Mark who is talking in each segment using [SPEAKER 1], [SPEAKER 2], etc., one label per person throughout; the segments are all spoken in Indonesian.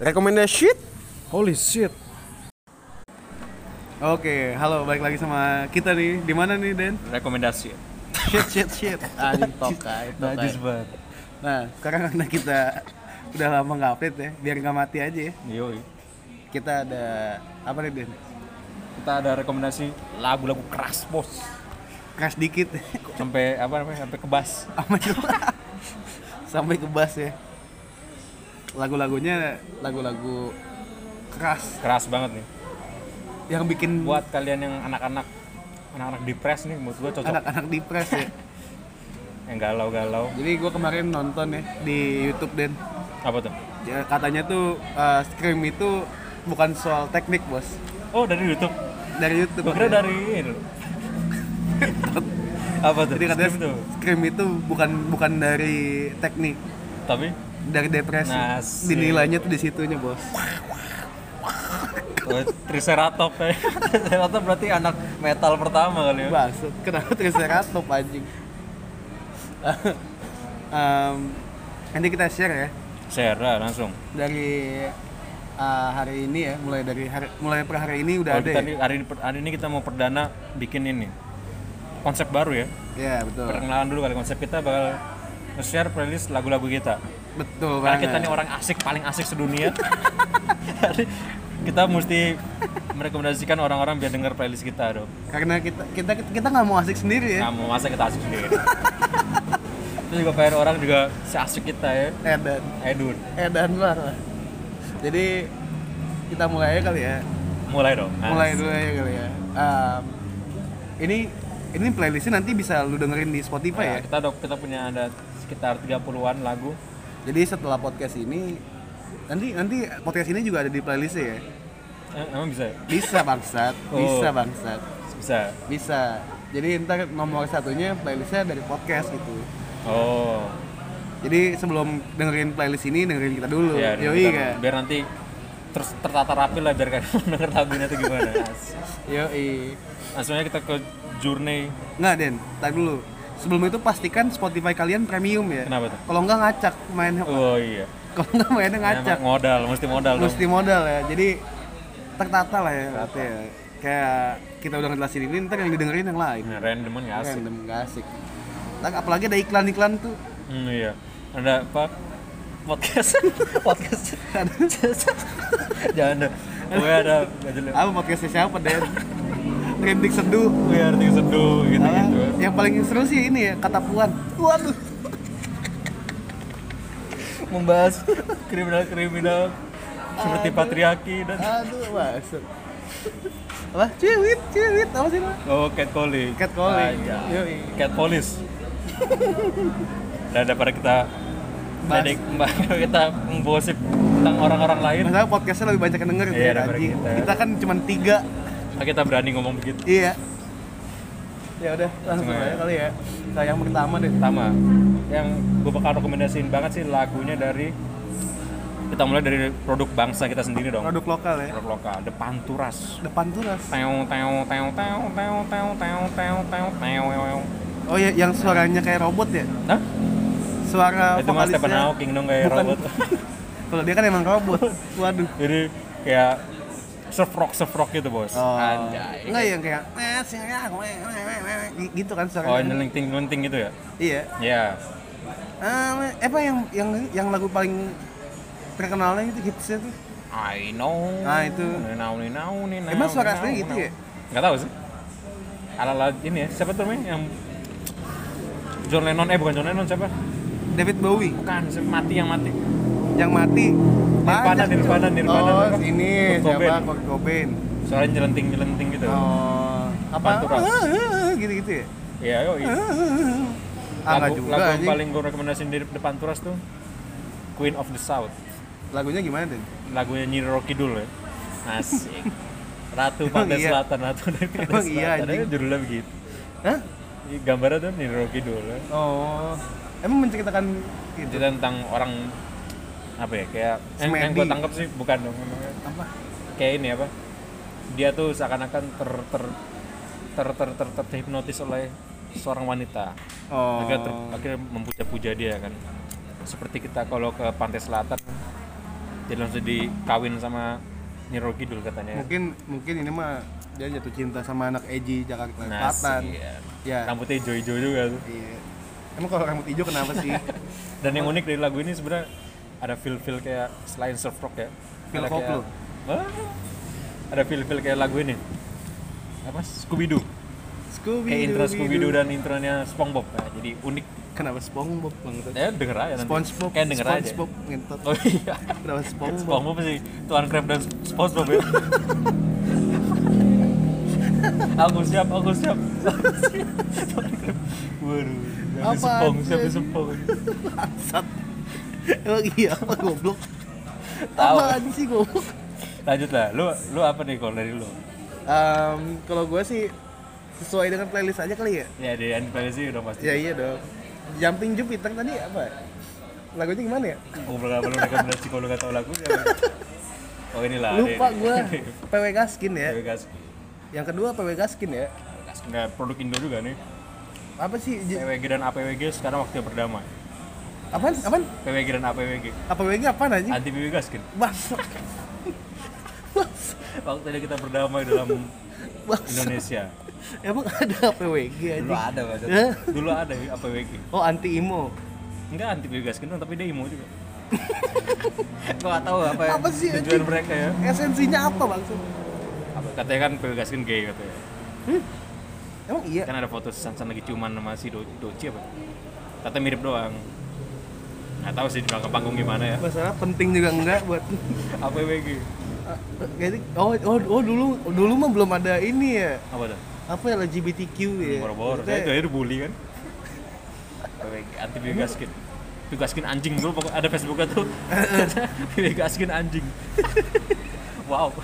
[SPEAKER 1] Rekomendasi shit?
[SPEAKER 2] Holy shit. Oke, halo, balik lagi sama kita nih. Di mana nih, Den?
[SPEAKER 3] rekomendasi
[SPEAKER 2] Shit, shit, shit.
[SPEAKER 3] anjing tokai
[SPEAKER 2] Najis banget. Nah, sekarang karena kita udah lama nggak update ya, biar nggak mati aja ya.
[SPEAKER 3] yoi
[SPEAKER 2] Kita ada apa nih, Den?
[SPEAKER 3] kita ada rekomendasi lagu-lagu keras bos
[SPEAKER 2] Keras dikit.
[SPEAKER 3] sampai apa namanya sampai kebas
[SPEAKER 2] Apa itu? Sampai ke bass ya. Lagu-lagunya lagu-lagu keras
[SPEAKER 3] keras banget nih
[SPEAKER 2] yang bikin
[SPEAKER 3] buat kalian yang anak-anak anak-anak depres nih menurut gua cocok
[SPEAKER 2] anak-anak depres ya.
[SPEAKER 3] yang galau-galau
[SPEAKER 2] Jadi gue kemarin nonton ya di YouTube Den.
[SPEAKER 3] apa tuh
[SPEAKER 2] Ya, katanya tuh uh, scream itu bukan soal teknik bos
[SPEAKER 3] oh dari YouTube
[SPEAKER 2] dari YouTube.
[SPEAKER 3] gua kira
[SPEAKER 2] Den.
[SPEAKER 3] dari ini loh. apa tuh
[SPEAKER 2] Jadi katanya
[SPEAKER 3] Scream tuh
[SPEAKER 2] scream itu bukan bukan dari teknik,
[SPEAKER 3] tapi
[SPEAKER 2] dari depresi.
[SPEAKER 3] Nasib.
[SPEAKER 2] Dinilainya tuh di situnya bos.
[SPEAKER 3] oh, Triceratops ya Triceratops berarti anak metal pertama kali ya
[SPEAKER 2] Masuk. Kenapa triceratop anjing? Em, nanti kita share ya
[SPEAKER 3] share lah langsung
[SPEAKER 2] dari uh, hari ini ya, mulai dari hari, mulai per hari ini udah
[SPEAKER 3] Kalau
[SPEAKER 2] ada.
[SPEAKER 3] kita
[SPEAKER 2] Ya?
[SPEAKER 3] nih, hari, ini- hari ini kita mau perdana bikin ini konsep baru ya
[SPEAKER 2] Ya, betul.
[SPEAKER 3] perkenalan dulu kali konsep kita bakal share playlist lagu-lagu kita
[SPEAKER 2] Betul
[SPEAKER 3] karena
[SPEAKER 2] banget.
[SPEAKER 3] kita nih orang asik paling asik sedunia Jadi kita mesti merekomendasikan orang-orang biar denger playlist kita dong
[SPEAKER 2] Karena kita kita kita nggak mau asik sendiri ya.
[SPEAKER 3] nggak mau masa kita asik sendiri terus juga pengen orang juga seasik kita ya
[SPEAKER 2] Edan,
[SPEAKER 3] Edun
[SPEAKER 2] Edan banget. Eh, Jadi kita mulai aja kali ya.
[SPEAKER 3] mulai dong Nah,
[SPEAKER 2] mulai dulu aja kali ya Em, ini ini playlistnya nanti bisa lu dengerin di
[SPEAKER 3] nah,
[SPEAKER 2] Spotify ya
[SPEAKER 3] kita dok kita punya ada sekitar 30-an lagu
[SPEAKER 2] jadi setelah podcast ini nanti nanti podcast ini juga ada di playlist ya
[SPEAKER 3] Eh, emang bisa ya?
[SPEAKER 2] bisa bangsat bisa bangsat
[SPEAKER 3] bisa
[SPEAKER 2] bisa jadi ntar nomor satunya playlistnya dari podcast gitu
[SPEAKER 3] oh
[SPEAKER 2] jadi sebelum dengerin playlist ini dengerin kita dulu
[SPEAKER 3] ya
[SPEAKER 2] yoi
[SPEAKER 3] kita-
[SPEAKER 2] kan
[SPEAKER 3] biar nanti terus tertata rapi lah biar kalian denger lagunya itu gimana Asik.
[SPEAKER 2] yoi
[SPEAKER 3] langsung aja kita ke journey
[SPEAKER 2] nggak den tak dulu sebelum itu pastikan Spotify kalian premium ya
[SPEAKER 3] Kenapa tuh?
[SPEAKER 2] kalau nggak ngacak main
[SPEAKER 3] oh iya
[SPEAKER 2] kalau nggak mainnya ngacak
[SPEAKER 3] Emang modal mesti modal dong
[SPEAKER 2] mesti modal ya jadi tertata lah ya berarti ya. kayak kita udah ngejelasin ini ntar yang didengerin yang lain
[SPEAKER 3] Nah, randoman nggak asik
[SPEAKER 2] random gak asik Ntar apalagi ada iklan-iklan tuh
[SPEAKER 3] hmm, iya ada apa podcast podcast jangan deh gue ada majalah
[SPEAKER 2] apa podcastnya siapa Den Rindik seduh
[SPEAKER 3] gue arti seduh gitu
[SPEAKER 2] Apa?
[SPEAKER 3] gitu
[SPEAKER 2] yang paling seru sih ini ya kata puan waduh
[SPEAKER 3] membahas kriminal kriminal seperti patriarki dan
[SPEAKER 2] aduh masuk apa ciwit ciwit apa sih Pak?
[SPEAKER 3] oh catcalling
[SPEAKER 2] catcalling Yoi.
[SPEAKER 3] cat police dan daripada kita
[SPEAKER 2] Bahas.
[SPEAKER 3] Dedik, kita menggosip tentang orang-orang lain,
[SPEAKER 2] masalah podcastnya lebih banyak yang denger
[SPEAKER 3] Iya,
[SPEAKER 2] ya,
[SPEAKER 3] daripada
[SPEAKER 2] anjing.
[SPEAKER 3] kita.
[SPEAKER 2] kita kan cuma tiga
[SPEAKER 3] maka kita berani ngomong begitu.
[SPEAKER 2] iya ya udah langsung
[SPEAKER 3] Cuma-
[SPEAKER 2] aja kali ya nah, yang pertama deh
[SPEAKER 3] pertama yang gue bakal rekomendasiin banget sih lagunya dari kita mulai dari produk bangsa kita sendiri dong
[SPEAKER 2] produk lokal ya
[SPEAKER 3] produk lokal The Panturas
[SPEAKER 2] depan turas
[SPEAKER 3] teo teo teo teo teo teo teo teo teo teo
[SPEAKER 2] oh ya yang suaranya kayak robot ya
[SPEAKER 3] nah
[SPEAKER 2] suara
[SPEAKER 3] itu mas Stephen
[SPEAKER 2] vokalisnya
[SPEAKER 3] Hawking dong kayak
[SPEAKER 2] Bukan.
[SPEAKER 3] robot
[SPEAKER 2] kalau dia kan emang robot waduh
[SPEAKER 3] jadi kayak surf rock surf rock gitu bos
[SPEAKER 2] oh.
[SPEAKER 3] anjay
[SPEAKER 2] nggak yang kayak "Eh, sing, ya, gue, eh, eh, eh, eh," gitu kan
[SPEAKER 3] oh
[SPEAKER 2] suaranya kan.
[SPEAKER 3] nyelenting nyelenting gitu ya
[SPEAKER 2] iya
[SPEAKER 3] ya
[SPEAKER 2] Eh, apa yang yang yang lagu paling terkenalnya itu hitsnya tuh
[SPEAKER 3] I know
[SPEAKER 2] Nah, itu.
[SPEAKER 3] I know I know I know,
[SPEAKER 2] Emang suara
[SPEAKER 3] I know,
[SPEAKER 2] aslinya
[SPEAKER 3] I
[SPEAKER 2] gitu
[SPEAKER 3] know.
[SPEAKER 2] ya?
[SPEAKER 3] nggak tahu sih ala ala ini ya siapa tuh namanya yang John Lennon eh bukan John Lennon siapa
[SPEAKER 2] David Bowie
[SPEAKER 3] bukan si mati yang mati
[SPEAKER 2] yang mati
[SPEAKER 3] Nirvana,
[SPEAKER 2] banyak,
[SPEAKER 3] Nirvana,
[SPEAKER 2] cuy.
[SPEAKER 3] Nirvana,
[SPEAKER 2] Ah, oh
[SPEAKER 3] apa?
[SPEAKER 2] ini
[SPEAKER 3] Kurt
[SPEAKER 2] siapa
[SPEAKER 3] Cobain.
[SPEAKER 2] Kurt Cobain
[SPEAKER 3] suaranya jelenting jelenting gitu
[SPEAKER 2] oh apa
[SPEAKER 3] Panturas.
[SPEAKER 2] gitu gitu ya
[SPEAKER 3] ya yo
[SPEAKER 2] ah nggak
[SPEAKER 3] lagu,
[SPEAKER 2] juga
[SPEAKER 3] lagu yang
[SPEAKER 2] anjing.
[SPEAKER 3] paling gue rekomendasiin dari depan turas tuh Queen of the South
[SPEAKER 2] lagunya gimana deh
[SPEAKER 3] lagunya Nyi Roro Kidul ya asik Ratu
[SPEAKER 2] Emang
[SPEAKER 3] Pantai
[SPEAKER 2] iya?
[SPEAKER 3] Selatan, Ratu dari Pantai
[SPEAKER 2] Emang iya,
[SPEAKER 3] Selatan
[SPEAKER 2] anjing?
[SPEAKER 3] Iya, judulnya begitu
[SPEAKER 2] Hah?
[SPEAKER 3] Ini gambarnya tuh Nyi Roro Kidul ya.
[SPEAKER 2] Oh, emang menceritakan gitu.
[SPEAKER 3] cerita tentang orang apa ya kayak yang, yang gue
[SPEAKER 2] Semedi.
[SPEAKER 3] tangkap sih bukan dong namanya.
[SPEAKER 2] Apa?
[SPEAKER 3] kayak ini apa dia tuh seakan-akan ter ter ter ter ter ter- terhipnotis oleh seorang wanita
[SPEAKER 2] Oh.
[SPEAKER 3] akhirnya, ter- akhirnya memuja-puja dia kan seperti kita kalau ke pantai selatan jadi langsung dikawin sama Niro Kidul katanya
[SPEAKER 2] mungkin mungkin ini mah dia jatuh cinta sama anak Eji Jakarta Selatan
[SPEAKER 3] iya.
[SPEAKER 2] ya
[SPEAKER 3] rambutnya hijau-hijau juga tuh
[SPEAKER 2] iya emang kalau rambut hijau kenapa sih
[SPEAKER 3] dan yang unik dari lagu ini sebenarnya ada feel-feel kayak selain surf rock ya
[SPEAKER 2] Feel
[SPEAKER 3] ada
[SPEAKER 2] folk
[SPEAKER 3] kayak-
[SPEAKER 2] lu.
[SPEAKER 3] Hah? ada feel-feel kayak lagu ini apa Scooby Doo
[SPEAKER 2] Scooby
[SPEAKER 3] kayak intro Scooby Doo dan intronya SpongeBob nah, jadi unik
[SPEAKER 2] kenapa SpongeBob banget
[SPEAKER 3] ya denger aja nanti
[SPEAKER 2] SpongeBob
[SPEAKER 3] kayak denger
[SPEAKER 2] SpongeBob ngentot
[SPEAKER 3] aja oh iya
[SPEAKER 2] kenapa SpongeBob
[SPEAKER 3] SpongeBob sih Tuan Crab dan SpongeBob ya aku siap aku siap Tuan Crab waduh
[SPEAKER 2] Apaan
[SPEAKER 3] siapa sepong siapa
[SPEAKER 2] sih?
[SPEAKER 3] sepong
[SPEAKER 2] Bangsat. Emang iya apa goblok?
[SPEAKER 3] Tahu.
[SPEAKER 2] Apaan sih goblok?
[SPEAKER 3] lanjut lah lu lu apa nih kalau dari lu
[SPEAKER 2] Em, kalau gue sih sesuai dengan playlist aja kali ya.
[SPEAKER 3] ya di end playlist sih udah pasti
[SPEAKER 2] Ya iya dong. Jumping Jupiter tadi apa? ya? Lagunya gimana ya?
[SPEAKER 3] ngobrol apa lu rekomendasi kalau lu gak tau lagunya oh inilah
[SPEAKER 2] Lupa
[SPEAKER 3] ada-
[SPEAKER 2] gue. PW Gaskin ya.
[SPEAKER 3] Dewi Gas-
[SPEAKER 2] Yang kedua PW Gaskin ya.
[SPEAKER 3] nggak produk Indo juga nih
[SPEAKER 2] Apa sih? J-
[SPEAKER 3] PWG dan APWG sekarang waktunya berdamai
[SPEAKER 2] Apaan? Apaan?
[SPEAKER 3] PWG dan APWG
[SPEAKER 2] Apa WG apaan aja?
[SPEAKER 3] anti PWG Gaskin
[SPEAKER 2] Bas. Bas.
[SPEAKER 3] waktunya kita berdamai dalam
[SPEAKER 2] Bas.
[SPEAKER 3] Indonesia
[SPEAKER 2] Emang ada PWG
[SPEAKER 3] dulu
[SPEAKER 2] aja?
[SPEAKER 3] ada Mas.
[SPEAKER 2] Hah?
[SPEAKER 3] dulu ada ya, APWG
[SPEAKER 2] Oh anti emo.
[SPEAKER 3] enggak anti PWG Gaskin tapi dia emo juga gua gak tahu apa,
[SPEAKER 2] Apa sih,
[SPEAKER 3] tujuan
[SPEAKER 2] anjing?
[SPEAKER 3] mereka ya
[SPEAKER 2] Esensinya apa bang?
[SPEAKER 3] apa, katanya kan PWG Gaskin gay katanya
[SPEAKER 2] Emang iya.
[SPEAKER 3] kan ada foto Sansan lagi ciuman sama si Do Doci apa katanya mirip doang nggak tahu sih di belakang panggung gimana ya
[SPEAKER 2] masalah penting juga enggak buat
[SPEAKER 3] APWG
[SPEAKER 2] jadi oh, oh oh dulu dulu mah belum ada ini ya
[SPEAKER 3] apa tuh
[SPEAKER 2] apa ya, LGBTQ ya
[SPEAKER 3] boro-boro saya
[SPEAKER 2] Maksudnya,
[SPEAKER 3] itu dibully kan APWG anti Bigaskin Bigaskin anjing dulu pokoknya ada Facebooknya tuh Bigaskin anjing wow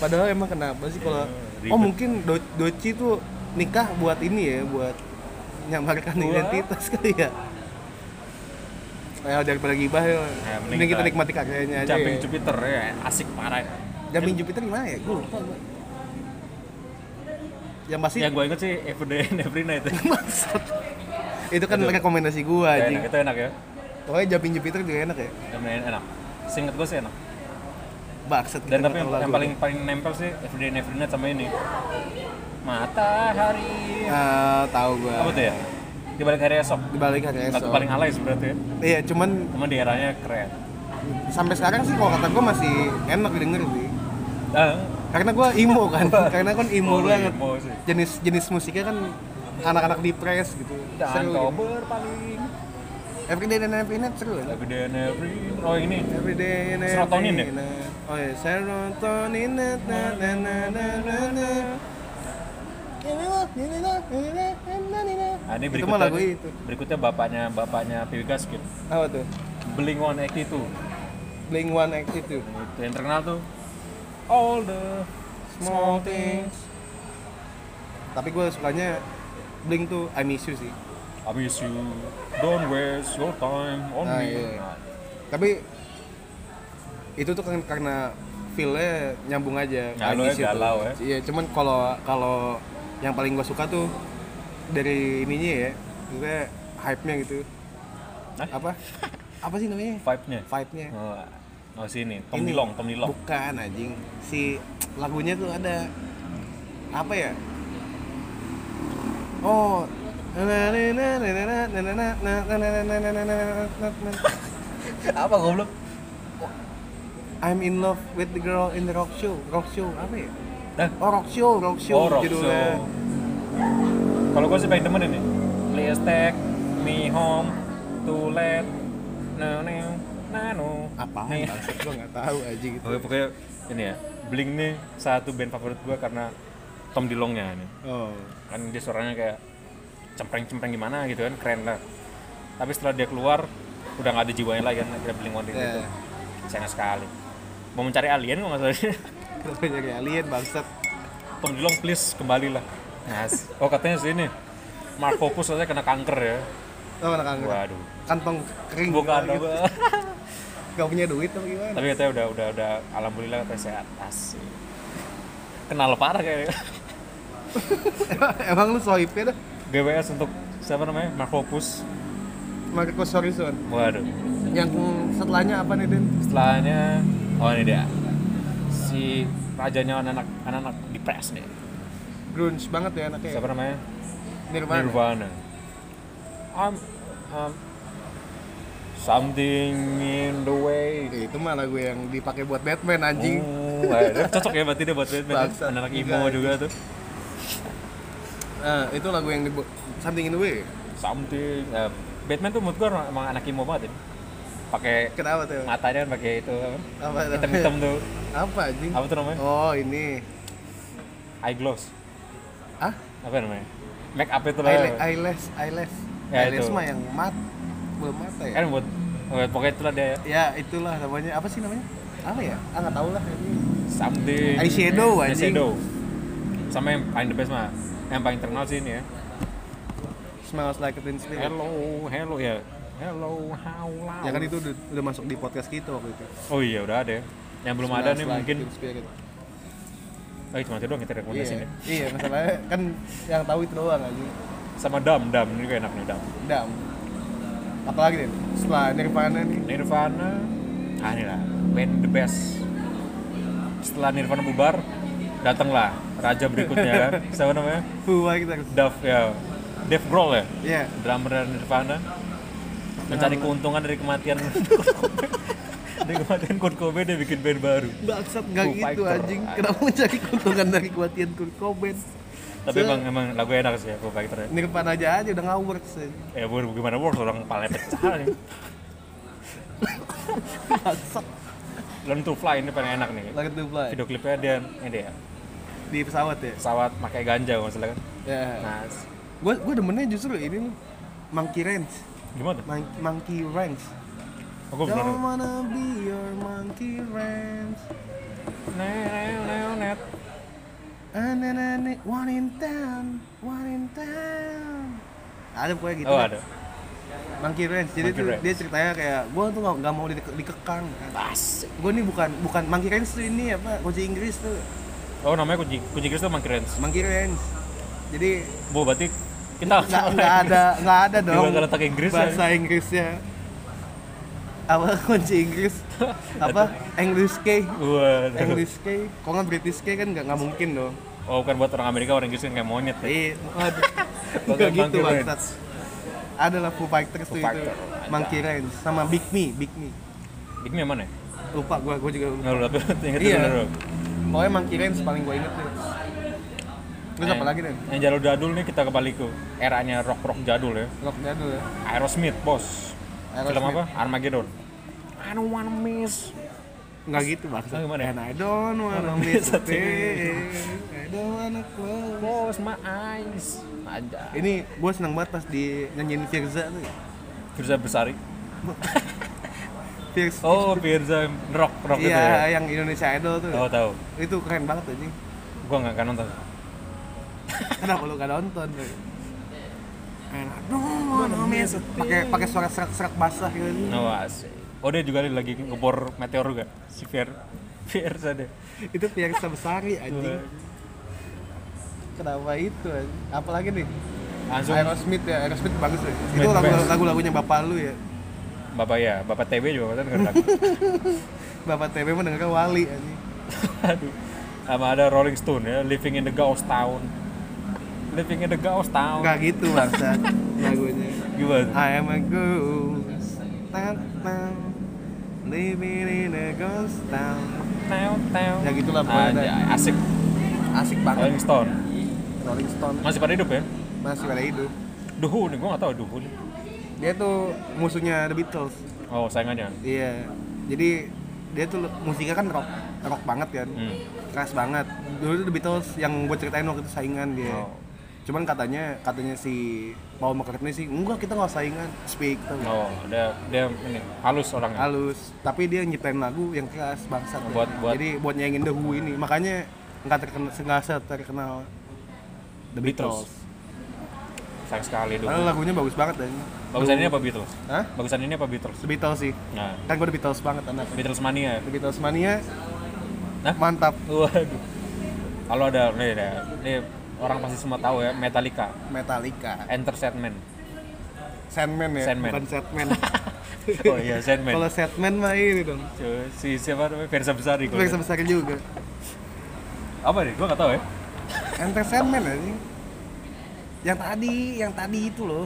[SPEAKER 2] padahal emang kenapa sih kalau
[SPEAKER 3] Iya,
[SPEAKER 2] oh
[SPEAKER 3] ribet.
[SPEAKER 2] mungkin Do- doci tuh nikah buat ini ya buat nyamarkan
[SPEAKER 3] Wah.
[SPEAKER 2] identitas kali ya Ayo daripada gibah ya.
[SPEAKER 3] mending
[SPEAKER 2] mending kita
[SPEAKER 3] kita
[SPEAKER 2] nikmati karyanya aja.
[SPEAKER 3] Jumping
[SPEAKER 2] ya.
[SPEAKER 3] Jupiter ya asik parah ya.
[SPEAKER 2] Jamin Jupiter gimana ya? Gue lupa gua. Yang pasti
[SPEAKER 3] yang gue inget sih Everyday and Every Night ya.
[SPEAKER 2] Maksud. Itu kan
[SPEAKER 3] Itu.
[SPEAKER 2] rekomendasi gua anjing.
[SPEAKER 3] enak, itu enak ya
[SPEAKER 2] Pokoknya Jamin Jupiter juga enak ya.
[SPEAKER 3] Everyday enak singkat gue sih enak
[SPEAKER 2] Bakset
[SPEAKER 3] dan
[SPEAKER 2] kita
[SPEAKER 3] tapi yang,
[SPEAKER 2] tahu
[SPEAKER 3] yang
[SPEAKER 2] lagu.
[SPEAKER 3] paling paling nempel sih Everyday and Every Night sama ini Matahari
[SPEAKER 2] Ah, tahu gua.
[SPEAKER 3] apa tuh ya di balik hari esok
[SPEAKER 2] Di balik hari esok.
[SPEAKER 3] lagu paling alay sebenarnya tuh ya
[SPEAKER 2] Iya, cuman
[SPEAKER 3] cuma di eranya keren
[SPEAKER 2] sampai sekarang sih kalau kata gua masih enak didengar sih.
[SPEAKER 3] ah
[SPEAKER 2] Karena gua emo kan. Karena kan emo
[SPEAKER 3] Oh,
[SPEAKER 2] banget.
[SPEAKER 3] emo sih.
[SPEAKER 2] Jenis jenis musiknya kan anak-anak di press gitu.
[SPEAKER 3] dan
[SPEAKER 2] Seru. Gitu.
[SPEAKER 3] Oktober paling
[SPEAKER 2] Everyday and every night seru kan.
[SPEAKER 3] lagu dan every oh ini
[SPEAKER 2] Everyday and every
[SPEAKER 3] Serotonin ya?
[SPEAKER 2] night. Oh iya, serotonin na na na na na na na.
[SPEAKER 3] nah, ini
[SPEAKER 2] Itu
[SPEAKER 3] berikutnya
[SPEAKER 2] mah lagu
[SPEAKER 3] nih.
[SPEAKER 2] itu.
[SPEAKER 3] berikutnya bapaknya bapaknya Piwi Gaskin
[SPEAKER 2] Apa tuh?
[SPEAKER 3] Blink One Eighty Two
[SPEAKER 2] Blink One X itu.
[SPEAKER 3] itu yang terkenal tuh all the small things
[SPEAKER 2] Tapi gue sukanya Blink tuh I Miss You sih.
[SPEAKER 3] I miss you don't waste your time on
[SPEAKER 2] Ah,
[SPEAKER 3] me
[SPEAKER 2] iya.
[SPEAKER 3] Nah,
[SPEAKER 2] Tapi itu tuh kan karena feel-nya nyambung aja. I
[SPEAKER 3] Nah, lu
[SPEAKER 2] Miss You
[SPEAKER 3] ya
[SPEAKER 2] tuh.
[SPEAKER 3] galau ya.
[SPEAKER 2] Iya, cuman kalau kalau yang paling gue suka tuh dari ininya ya, maksudnya hype-nya gitu.
[SPEAKER 3] Hah?
[SPEAKER 2] Apa? Apa sih namanya?
[SPEAKER 3] vibe-nya
[SPEAKER 2] Vibe-nya.
[SPEAKER 3] oh, oh sini Tom
[SPEAKER 2] Ini.
[SPEAKER 3] Dilong Tom Dilong
[SPEAKER 2] Bukan anjing. Si lagunya tuh ada apa ya? Oh.
[SPEAKER 3] apa goblok
[SPEAKER 2] I'm in love with the girl in the rock show. Rock show apa ya?
[SPEAKER 3] Hah?
[SPEAKER 2] Oh rock show, rock show
[SPEAKER 3] Oh, rock
[SPEAKER 2] judulnya.
[SPEAKER 3] show. Kalau gue sih paling demen ini. Please take me home to let no no nano.
[SPEAKER 2] Apaan
[SPEAKER 3] Nih.
[SPEAKER 2] bangsat gua enggak tahu anjing gitu.
[SPEAKER 3] Ah, Oke, pokoknya ini ya. Blink nih satu band favorit gue karena Tom Dilongnya ini.
[SPEAKER 2] Oh.
[SPEAKER 3] Kan dia suaranya kayak cempreng-cempreng gimana gitu kan, keren lah. Tapi setelah dia keluar udah nggak ada jiwanya lagi kan akhirnya Blink One
[SPEAKER 2] Ya.
[SPEAKER 3] itu. Sayang sekali. Mau mencari alien kok nggak salah.
[SPEAKER 2] Kenapa jadi alien bangsat?
[SPEAKER 3] Tom Dilong please kembalilah. Mas. Oh katanya sih ini Mark Hoppus katanya kena kanker ya.
[SPEAKER 2] Oh, anak kanker.
[SPEAKER 3] Waduh.
[SPEAKER 2] Kantong kering.
[SPEAKER 3] Bukan
[SPEAKER 2] gitu.
[SPEAKER 3] apa.
[SPEAKER 2] Gak punya duit apa gimana?
[SPEAKER 3] Tapi katanya udah udah udah alhamdulillah katanya sehat. Asik. Kenal parah kayaknya.
[SPEAKER 2] Emang lu soipnya dah.
[SPEAKER 3] GWS untuk siapa namanya? Mark Hoppus.
[SPEAKER 2] Marcus Horizon.
[SPEAKER 3] Waduh.
[SPEAKER 2] yang setelahnya apa nih Den?
[SPEAKER 3] Setelahnya oh ini dia. Si rajanya anak-anak anak-anak di press nih.
[SPEAKER 2] Grunge banget ya anaknya.
[SPEAKER 3] Siapa namanya?
[SPEAKER 2] Nirvana.
[SPEAKER 3] Nirvana. I'm, um, something in the way.
[SPEAKER 2] Eh, Itu mah lagu yang dipakai buat Batman anjing.
[SPEAKER 3] Oh, eh, cocok ya berarti dia buat Batman.
[SPEAKER 2] Bangsat.
[SPEAKER 3] Anak emo juga tuh.
[SPEAKER 2] Eh, itu lagu yang dibuat Something in the Way.
[SPEAKER 3] Something. eh, Batman tuh menurut gua emang anak emo banget ya. Pakai
[SPEAKER 2] Kenapa tuh?
[SPEAKER 3] matanya kan pakai itu apa?
[SPEAKER 2] Apa namanya?
[SPEAKER 3] hitam-hitam tuh.
[SPEAKER 2] Apa anjing?
[SPEAKER 3] Apa tuh namanya?
[SPEAKER 2] Oh, ini.
[SPEAKER 3] Eye gloss.
[SPEAKER 2] Ah,
[SPEAKER 3] Apa namanya? Make up itu lah.
[SPEAKER 2] eyelash, eyelash, eyelash.
[SPEAKER 3] Ya,
[SPEAKER 2] eyelash
[SPEAKER 3] itu.
[SPEAKER 2] mah yang mat belum mata ya.
[SPEAKER 3] Kan buat buat- pokoknya itulah dia
[SPEAKER 2] Ya, itulah namanya. Apa sih namanya? Apa ya? Ah, nggak tahu lah ini.
[SPEAKER 3] something
[SPEAKER 2] Eyeshadow,
[SPEAKER 3] eh,
[SPEAKER 2] anjing.
[SPEAKER 3] eyeshadow. sama yang paling the best mah yang paling terkenal sih ini ya
[SPEAKER 2] Smells like teen spirit.
[SPEAKER 3] hello hello ya hello how loud
[SPEAKER 2] Iya. Ya kan itu udah, udah masuk di podcast kita waktu itu.
[SPEAKER 3] oh iya udah ada ya. yang belum ada
[SPEAKER 2] Smells
[SPEAKER 3] nih
[SPEAKER 2] like
[SPEAKER 3] mungkin
[SPEAKER 2] Teen Spirit.
[SPEAKER 3] oh cuma itu doang kita rekomendasiin
[SPEAKER 2] Iya,
[SPEAKER 3] ya
[SPEAKER 2] iya masalahnya kan yang tahu itu doang aja.
[SPEAKER 3] sama dam dam ini juga enak nih dam
[SPEAKER 2] Dam. Apalagi deh, setelah Nirvana nih.
[SPEAKER 3] Nirvana ah ini lah band the best setelah Nirvana bubar datanglah raja berikutnya kan siapa namanya
[SPEAKER 2] Fuwa kita.
[SPEAKER 3] Dave ya Dave Grohl ya
[SPEAKER 2] Iya.
[SPEAKER 3] drummer dari Nirvana mencari keuntungan dari kematian dari kematian Kurt Cobain dia bikin band baru
[SPEAKER 2] Bangsat nggak
[SPEAKER 3] Foo
[SPEAKER 2] gitu
[SPEAKER 3] Fighter.
[SPEAKER 2] anjing. Kenapa mencari keuntungan dari kematian Kurt Cobain?
[SPEAKER 3] tapi emang emang lagu enak sih ya Foo Fighter ya
[SPEAKER 2] Nirvana aja aja udah ngawur sih.
[SPEAKER 3] ya bu- gimana works orang palanya pecah nih
[SPEAKER 2] Bangsat.
[SPEAKER 3] Learn to Fly ini paling enak nih
[SPEAKER 2] Lagi tuh Fly.
[SPEAKER 3] video klipnya dia ini dia
[SPEAKER 2] Di pesawat ya.
[SPEAKER 3] pesawat pakai ganja kalau nggak salah kan
[SPEAKER 2] Ya.
[SPEAKER 3] nah
[SPEAKER 2] Gue gue demennya justru ini nih. Monkey Ranch.
[SPEAKER 3] gimana Oh,
[SPEAKER 2] Mon- monkey Ranch.
[SPEAKER 3] aku
[SPEAKER 2] Don't
[SPEAKER 3] benar
[SPEAKER 2] wanna be your monkey ranch.
[SPEAKER 3] net
[SPEAKER 2] And then I need one in town, one in town. Ada pokoknya gitu.
[SPEAKER 3] oh
[SPEAKER 2] deh.
[SPEAKER 3] ada
[SPEAKER 2] Monkey Ranch. Jadi
[SPEAKER 3] Monkey
[SPEAKER 2] tuh
[SPEAKER 3] Ranch.
[SPEAKER 2] dia ceritanya kayak gue tuh nggak nggak mau dike- dikekang.
[SPEAKER 3] tas
[SPEAKER 2] Gue nih bukan bukan Monkey Ranch tuh ini apa? Kunci Inggris tuh
[SPEAKER 3] oh namanya kunci kunci Inggris tuh Monkey Ranch
[SPEAKER 2] Monkey Ranch. Jadi
[SPEAKER 3] bu berarti kita
[SPEAKER 2] nggak nggak ada nggak ada dong.
[SPEAKER 3] Gimana letak Inggris ya?
[SPEAKER 2] Bahasa Inggrisnya apa kunci Inggris apa English K
[SPEAKER 3] Waduh.
[SPEAKER 2] English K kok nggak British K kan nggak nggak mungkin dong
[SPEAKER 3] Oh bukan buat orang Amerika orang Inggris kan kayak monyet ya.
[SPEAKER 2] Iya, waduh.
[SPEAKER 3] Bukan
[SPEAKER 2] Gak gitu
[SPEAKER 3] Monkey Ranch.
[SPEAKER 2] bangsat. Adalah Foo Fighters
[SPEAKER 3] Foo
[SPEAKER 2] tuh itu.
[SPEAKER 3] Fighter, ada.
[SPEAKER 2] Monkey Ranch sama Big Me, Big Me.
[SPEAKER 3] Big Me yang mana? ya?
[SPEAKER 2] Lupa gua, gua juga lupa.
[SPEAKER 3] Nggak lu tapi lu inget
[SPEAKER 2] Iya.
[SPEAKER 3] dulu.
[SPEAKER 2] Pokoknya Monkey Ranch paling gua inget tuh. Terus
[SPEAKER 3] Eh.
[SPEAKER 2] apa lagi, Den?
[SPEAKER 3] Yang jalur jadul nih kita kembali ke eranya rock rock jadul ya.
[SPEAKER 2] Rock jadul ya.
[SPEAKER 3] Aerosmith bos. Film
[SPEAKER 2] Aerosmith.
[SPEAKER 3] apa? Armageddon. I don't wanna miss.
[SPEAKER 2] Enggak gitu, Bang.
[SPEAKER 3] Oh, gimana ya?
[SPEAKER 2] And I don't wanna
[SPEAKER 3] Wanna
[SPEAKER 2] miss
[SPEAKER 3] miss
[SPEAKER 2] a
[SPEAKER 3] a thing.
[SPEAKER 2] thing. I don't wanna close.
[SPEAKER 3] Close my eyes. Aja.
[SPEAKER 2] Ini gua seneng banget pas di nyanyiin Firza tuh. ya.
[SPEAKER 3] Firza Besari.
[SPEAKER 2] Firza.
[SPEAKER 3] Oh Firza rock rock itu ya. Oh.
[SPEAKER 2] Iya, yang Indonesia Idol tuh.
[SPEAKER 3] Tahu tahu.
[SPEAKER 2] Itu keren banget anjing.
[SPEAKER 3] Gua nggak akan nonton.
[SPEAKER 2] Kenapa lu gak nonton? Enak dong, pakai pakai suara serak-serak basah gitu.
[SPEAKER 3] No asik. Oh dia juga lagi ngebor meteor juga. Si Fir. Firza deh.
[SPEAKER 2] Itu Piersa Besari anjing. Kenapa itu? anjing? Apalagi nih?
[SPEAKER 3] Langsung
[SPEAKER 2] Aerosmith ya, Aerosmith bagus ya. Itu
[SPEAKER 3] Smith
[SPEAKER 2] lagu-
[SPEAKER 3] best.
[SPEAKER 2] lagu-lagunya bapak lu ya.
[SPEAKER 3] Bapak ya, Bapak TB juga kan nggak ada.
[SPEAKER 2] Bapak TB mendengarkan Wali anjing.
[SPEAKER 3] Aduh. Sama ada Rolling Stone ya, Living in the Ghost Town. Living in the Ghost Town.
[SPEAKER 2] Enggak gitu bangsa lagunya.
[SPEAKER 3] Gimana?
[SPEAKER 2] I am a ghost. Tan tan. Living in a ghost town.
[SPEAKER 3] Town, town.
[SPEAKER 2] Ya gitulah pokoknya
[SPEAKER 3] Anjay, asik.
[SPEAKER 2] Asik banget
[SPEAKER 3] Rolling Stone.
[SPEAKER 2] Rolling Stone
[SPEAKER 3] Masih pada hidup ya?
[SPEAKER 2] masih pada hidup.
[SPEAKER 3] Duhu nih, gua nggak tahu Duhu nih.
[SPEAKER 2] dia tuh musuhnya The Beatles
[SPEAKER 3] Oh, sayangannya.
[SPEAKER 2] iya jadi dia tuh musiknya kan rock rock banget kan
[SPEAKER 3] Hmm.
[SPEAKER 2] keras banget dulu tuh The Beatles yang gue ceritain waktu itu saingan dia
[SPEAKER 3] Oh.
[SPEAKER 2] cuman katanya katanya si Paul McCartney sih enggak kita nggak saingan speak tuh
[SPEAKER 3] Oh, dia dia ini halus orangnya.
[SPEAKER 2] halus tapi dia nyiptain lagu yang keras bangsat ya.
[SPEAKER 3] Buat- buat-
[SPEAKER 2] jadi buat nyanyiin The Who ini makanya nggak terkenal nggak terkenal The Beatles,
[SPEAKER 3] Sayang sekali Duhu.
[SPEAKER 2] Padahal lagunya bagus banget dan
[SPEAKER 3] Bagusan ini apa Beatles?
[SPEAKER 2] Hah?
[SPEAKER 3] Bagusan ini apa Beatles?
[SPEAKER 2] The Beatles sih
[SPEAKER 3] Nah,
[SPEAKER 2] kan gue The Beatles banget anak
[SPEAKER 3] Beatles mania. ya?
[SPEAKER 2] The Beatles mania
[SPEAKER 3] Hah?
[SPEAKER 2] mantap
[SPEAKER 3] Waduh. Kalau ada nih, nih, nih, orang pasti semua tahu ya, Metallica,
[SPEAKER 2] Metallica
[SPEAKER 3] Enter Sandman.
[SPEAKER 2] Sandman ya?
[SPEAKER 3] Sandman.
[SPEAKER 2] Bukan Sandman
[SPEAKER 3] oh iya Sandman
[SPEAKER 2] Kalau setman mah ini dong.
[SPEAKER 3] Coba, si siapa namanya Versa Besari kalau
[SPEAKER 2] Tapi besar besar juga.
[SPEAKER 3] apa nih gua nggak tahu ya
[SPEAKER 2] Ente setman aja. ya, Yang tadi, yang tadi itu loh.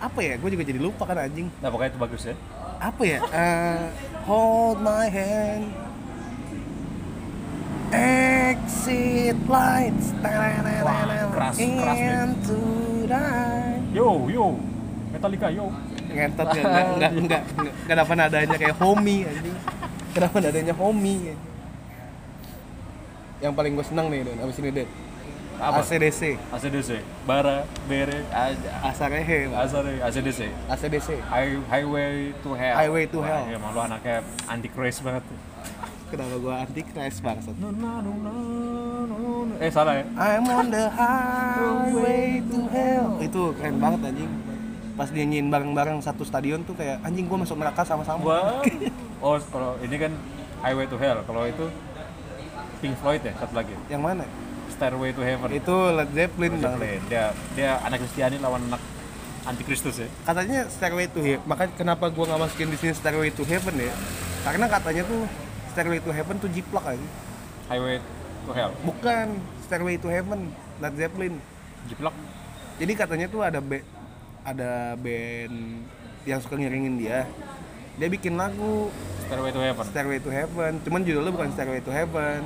[SPEAKER 2] Apa ya? Gue juga jadi lupa kan anjing.
[SPEAKER 3] nah pokoknya itu bagus ya
[SPEAKER 2] Apa ya? Eh, hold my hand. Exit lights.
[SPEAKER 3] Wah, keras, keras, Ben.
[SPEAKER 2] Into night.
[SPEAKER 3] yo yo Metallica yo
[SPEAKER 2] ngentot nggak nggak nggak nggak nggak- kenapa nadanya kayak homie anjing kenapa nadanya homie anjing? yang paling gue seneng nih Don abis ini Don
[SPEAKER 3] apa
[SPEAKER 2] ACDC
[SPEAKER 3] ACDC Bara Bere A-
[SPEAKER 2] Asarehe Bang.
[SPEAKER 3] Asare ACDC
[SPEAKER 2] ACDC
[SPEAKER 3] Hi- Highway to Hell
[SPEAKER 2] Highway to Hell.
[SPEAKER 3] ya malu anaknya anti craze banget
[SPEAKER 2] kenapa gue anti crash bangsat
[SPEAKER 3] No, no, no, no, no, no. eh salah ya
[SPEAKER 2] I'm on the highway to hell itu keren banget anjing pas dia nyanyiin bareng-bareng satu stadion tuh kayak anjing gue masuk neraka sama-sama
[SPEAKER 3] Wah. oh kalau ini kan Highway to Hell kalau itu Pink Floyd ya satu lagi
[SPEAKER 2] yang mana
[SPEAKER 3] Stairway to Heaven
[SPEAKER 2] itu Led Zeppelin
[SPEAKER 3] Led
[SPEAKER 2] banget
[SPEAKER 3] Zeppelin. dia dia anak Kristiani lawan anak anti Kristus ya
[SPEAKER 2] katanya Stairway to Heaven. Makanya kenapa gua nggak masukin di sini Stairway to Heaven ya? Karena katanya tuh Stairway to Heaven tuh jiplak aja.
[SPEAKER 3] Highway to Hell
[SPEAKER 2] Bukan Stairway to Heaven, Led Zeppelin.
[SPEAKER 3] jiplak
[SPEAKER 2] Jadi katanya tuh ada ba- ada band yang suka ngiringin dia. Dia bikin lagu
[SPEAKER 3] Stairway to Heaven
[SPEAKER 2] Stairway to Heaven, cuman judulnya bukan Stairway to Heaven.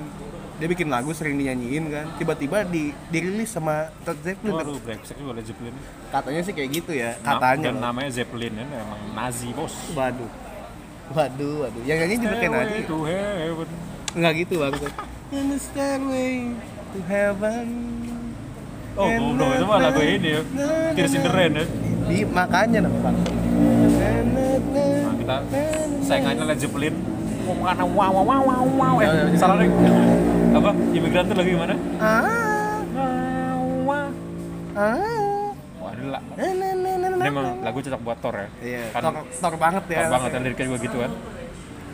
[SPEAKER 2] Dia bikin lagu sering dinyanyiin kan. Tiba-tiba di dirilis sama Led Zeppelin.
[SPEAKER 3] Waduh, brengsek juga Led Zeppelin
[SPEAKER 2] Katanya sih kayak gitu ya,
[SPEAKER 3] Na-
[SPEAKER 2] katanya.
[SPEAKER 3] dan
[SPEAKER 2] loh.
[SPEAKER 3] namanya Zeppelin kan emang Nazi bos
[SPEAKER 2] Waduh. Waduh, waduh. Yang nyanyi juga kayak
[SPEAKER 3] Stairway
[SPEAKER 2] Nazi.
[SPEAKER 3] to Heaven
[SPEAKER 2] Enggak gitu bang In the stairway to heaven
[SPEAKER 3] oh goblok itu mah lagu ini ya Tears in the Rain ya
[SPEAKER 2] Di makanya nama bang
[SPEAKER 3] Nah, kita saingannya Led Zeppelin ngomong karena wow wow wow wow wow eh
[SPEAKER 2] Ya, ya, ya.
[SPEAKER 3] salah deh apa imigran tuh lagu gimana
[SPEAKER 2] Ah,
[SPEAKER 3] wah
[SPEAKER 2] ah,
[SPEAKER 3] ini la-
[SPEAKER 2] na, na, na, na, na.
[SPEAKER 3] ini emang lagu cocok buat Thor ya
[SPEAKER 2] Iya,
[SPEAKER 3] kan
[SPEAKER 2] tor, tor banget ya.
[SPEAKER 3] Thor banget kan liriknya gue gitu kan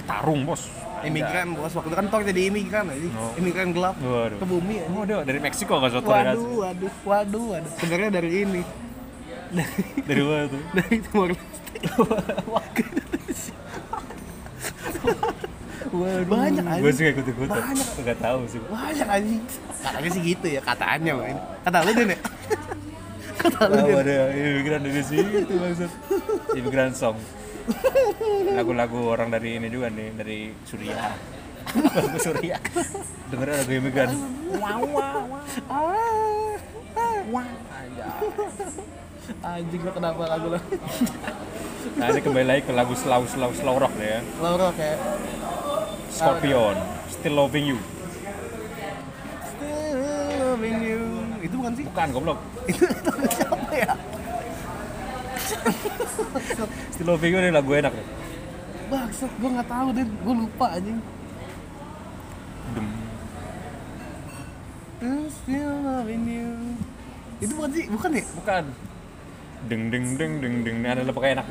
[SPEAKER 3] tarung bos
[SPEAKER 2] Imigran bos, waktu itu kan tor jadi imigran aja.
[SPEAKER 3] Oh.
[SPEAKER 2] Imigran gelap
[SPEAKER 3] Waduh.
[SPEAKER 2] ke bumi aja.
[SPEAKER 3] oh dia dari Meksiko nggak suatu ya
[SPEAKER 2] Waduh, waduh, waduh, waduh. Sebenarnya dari ini. Dari
[SPEAKER 3] dari mana tuh
[SPEAKER 2] dari Timor Leste. Banyak aja.
[SPEAKER 3] gue suka ikut ikutan
[SPEAKER 2] Banyak.
[SPEAKER 3] nggak tahu sih
[SPEAKER 2] banyak anjing katanya sih gitu ya katanya main kata lu deh Nek. kata lu
[SPEAKER 3] Tahu
[SPEAKER 2] deh
[SPEAKER 3] ada imigran dari situ maksud imigran song lagu-lagu orang dari ini juga nih dari Suriah lagu Suriah dengerin lagu imigran wow wow wow
[SPEAKER 2] Ah, ah.
[SPEAKER 3] wow Anjay.
[SPEAKER 2] anjing lu kenapa lagu lu
[SPEAKER 3] nah ini kembali lagi ke lagu slow slow slow rock deh ya
[SPEAKER 2] Laura kayak
[SPEAKER 3] Scorpion Still Loving You
[SPEAKER 2] still loving you itu bukan sih
[SPEAKER 3] bukan goblok
[SPEAKER 2] itu itu siapa ya
[SPEAKER 3] Still Loving You ini lagu enak ya
[SPEAKER 2] bangsat gua nggak tahu deh gua lupa anjing
[SPEAKER 3] Dem.
[SPEAKER 2] still loving you itu bukan sih bukan ya
[SPEAKER 3] bukan deng deng deng deng deng ini ada pakai enak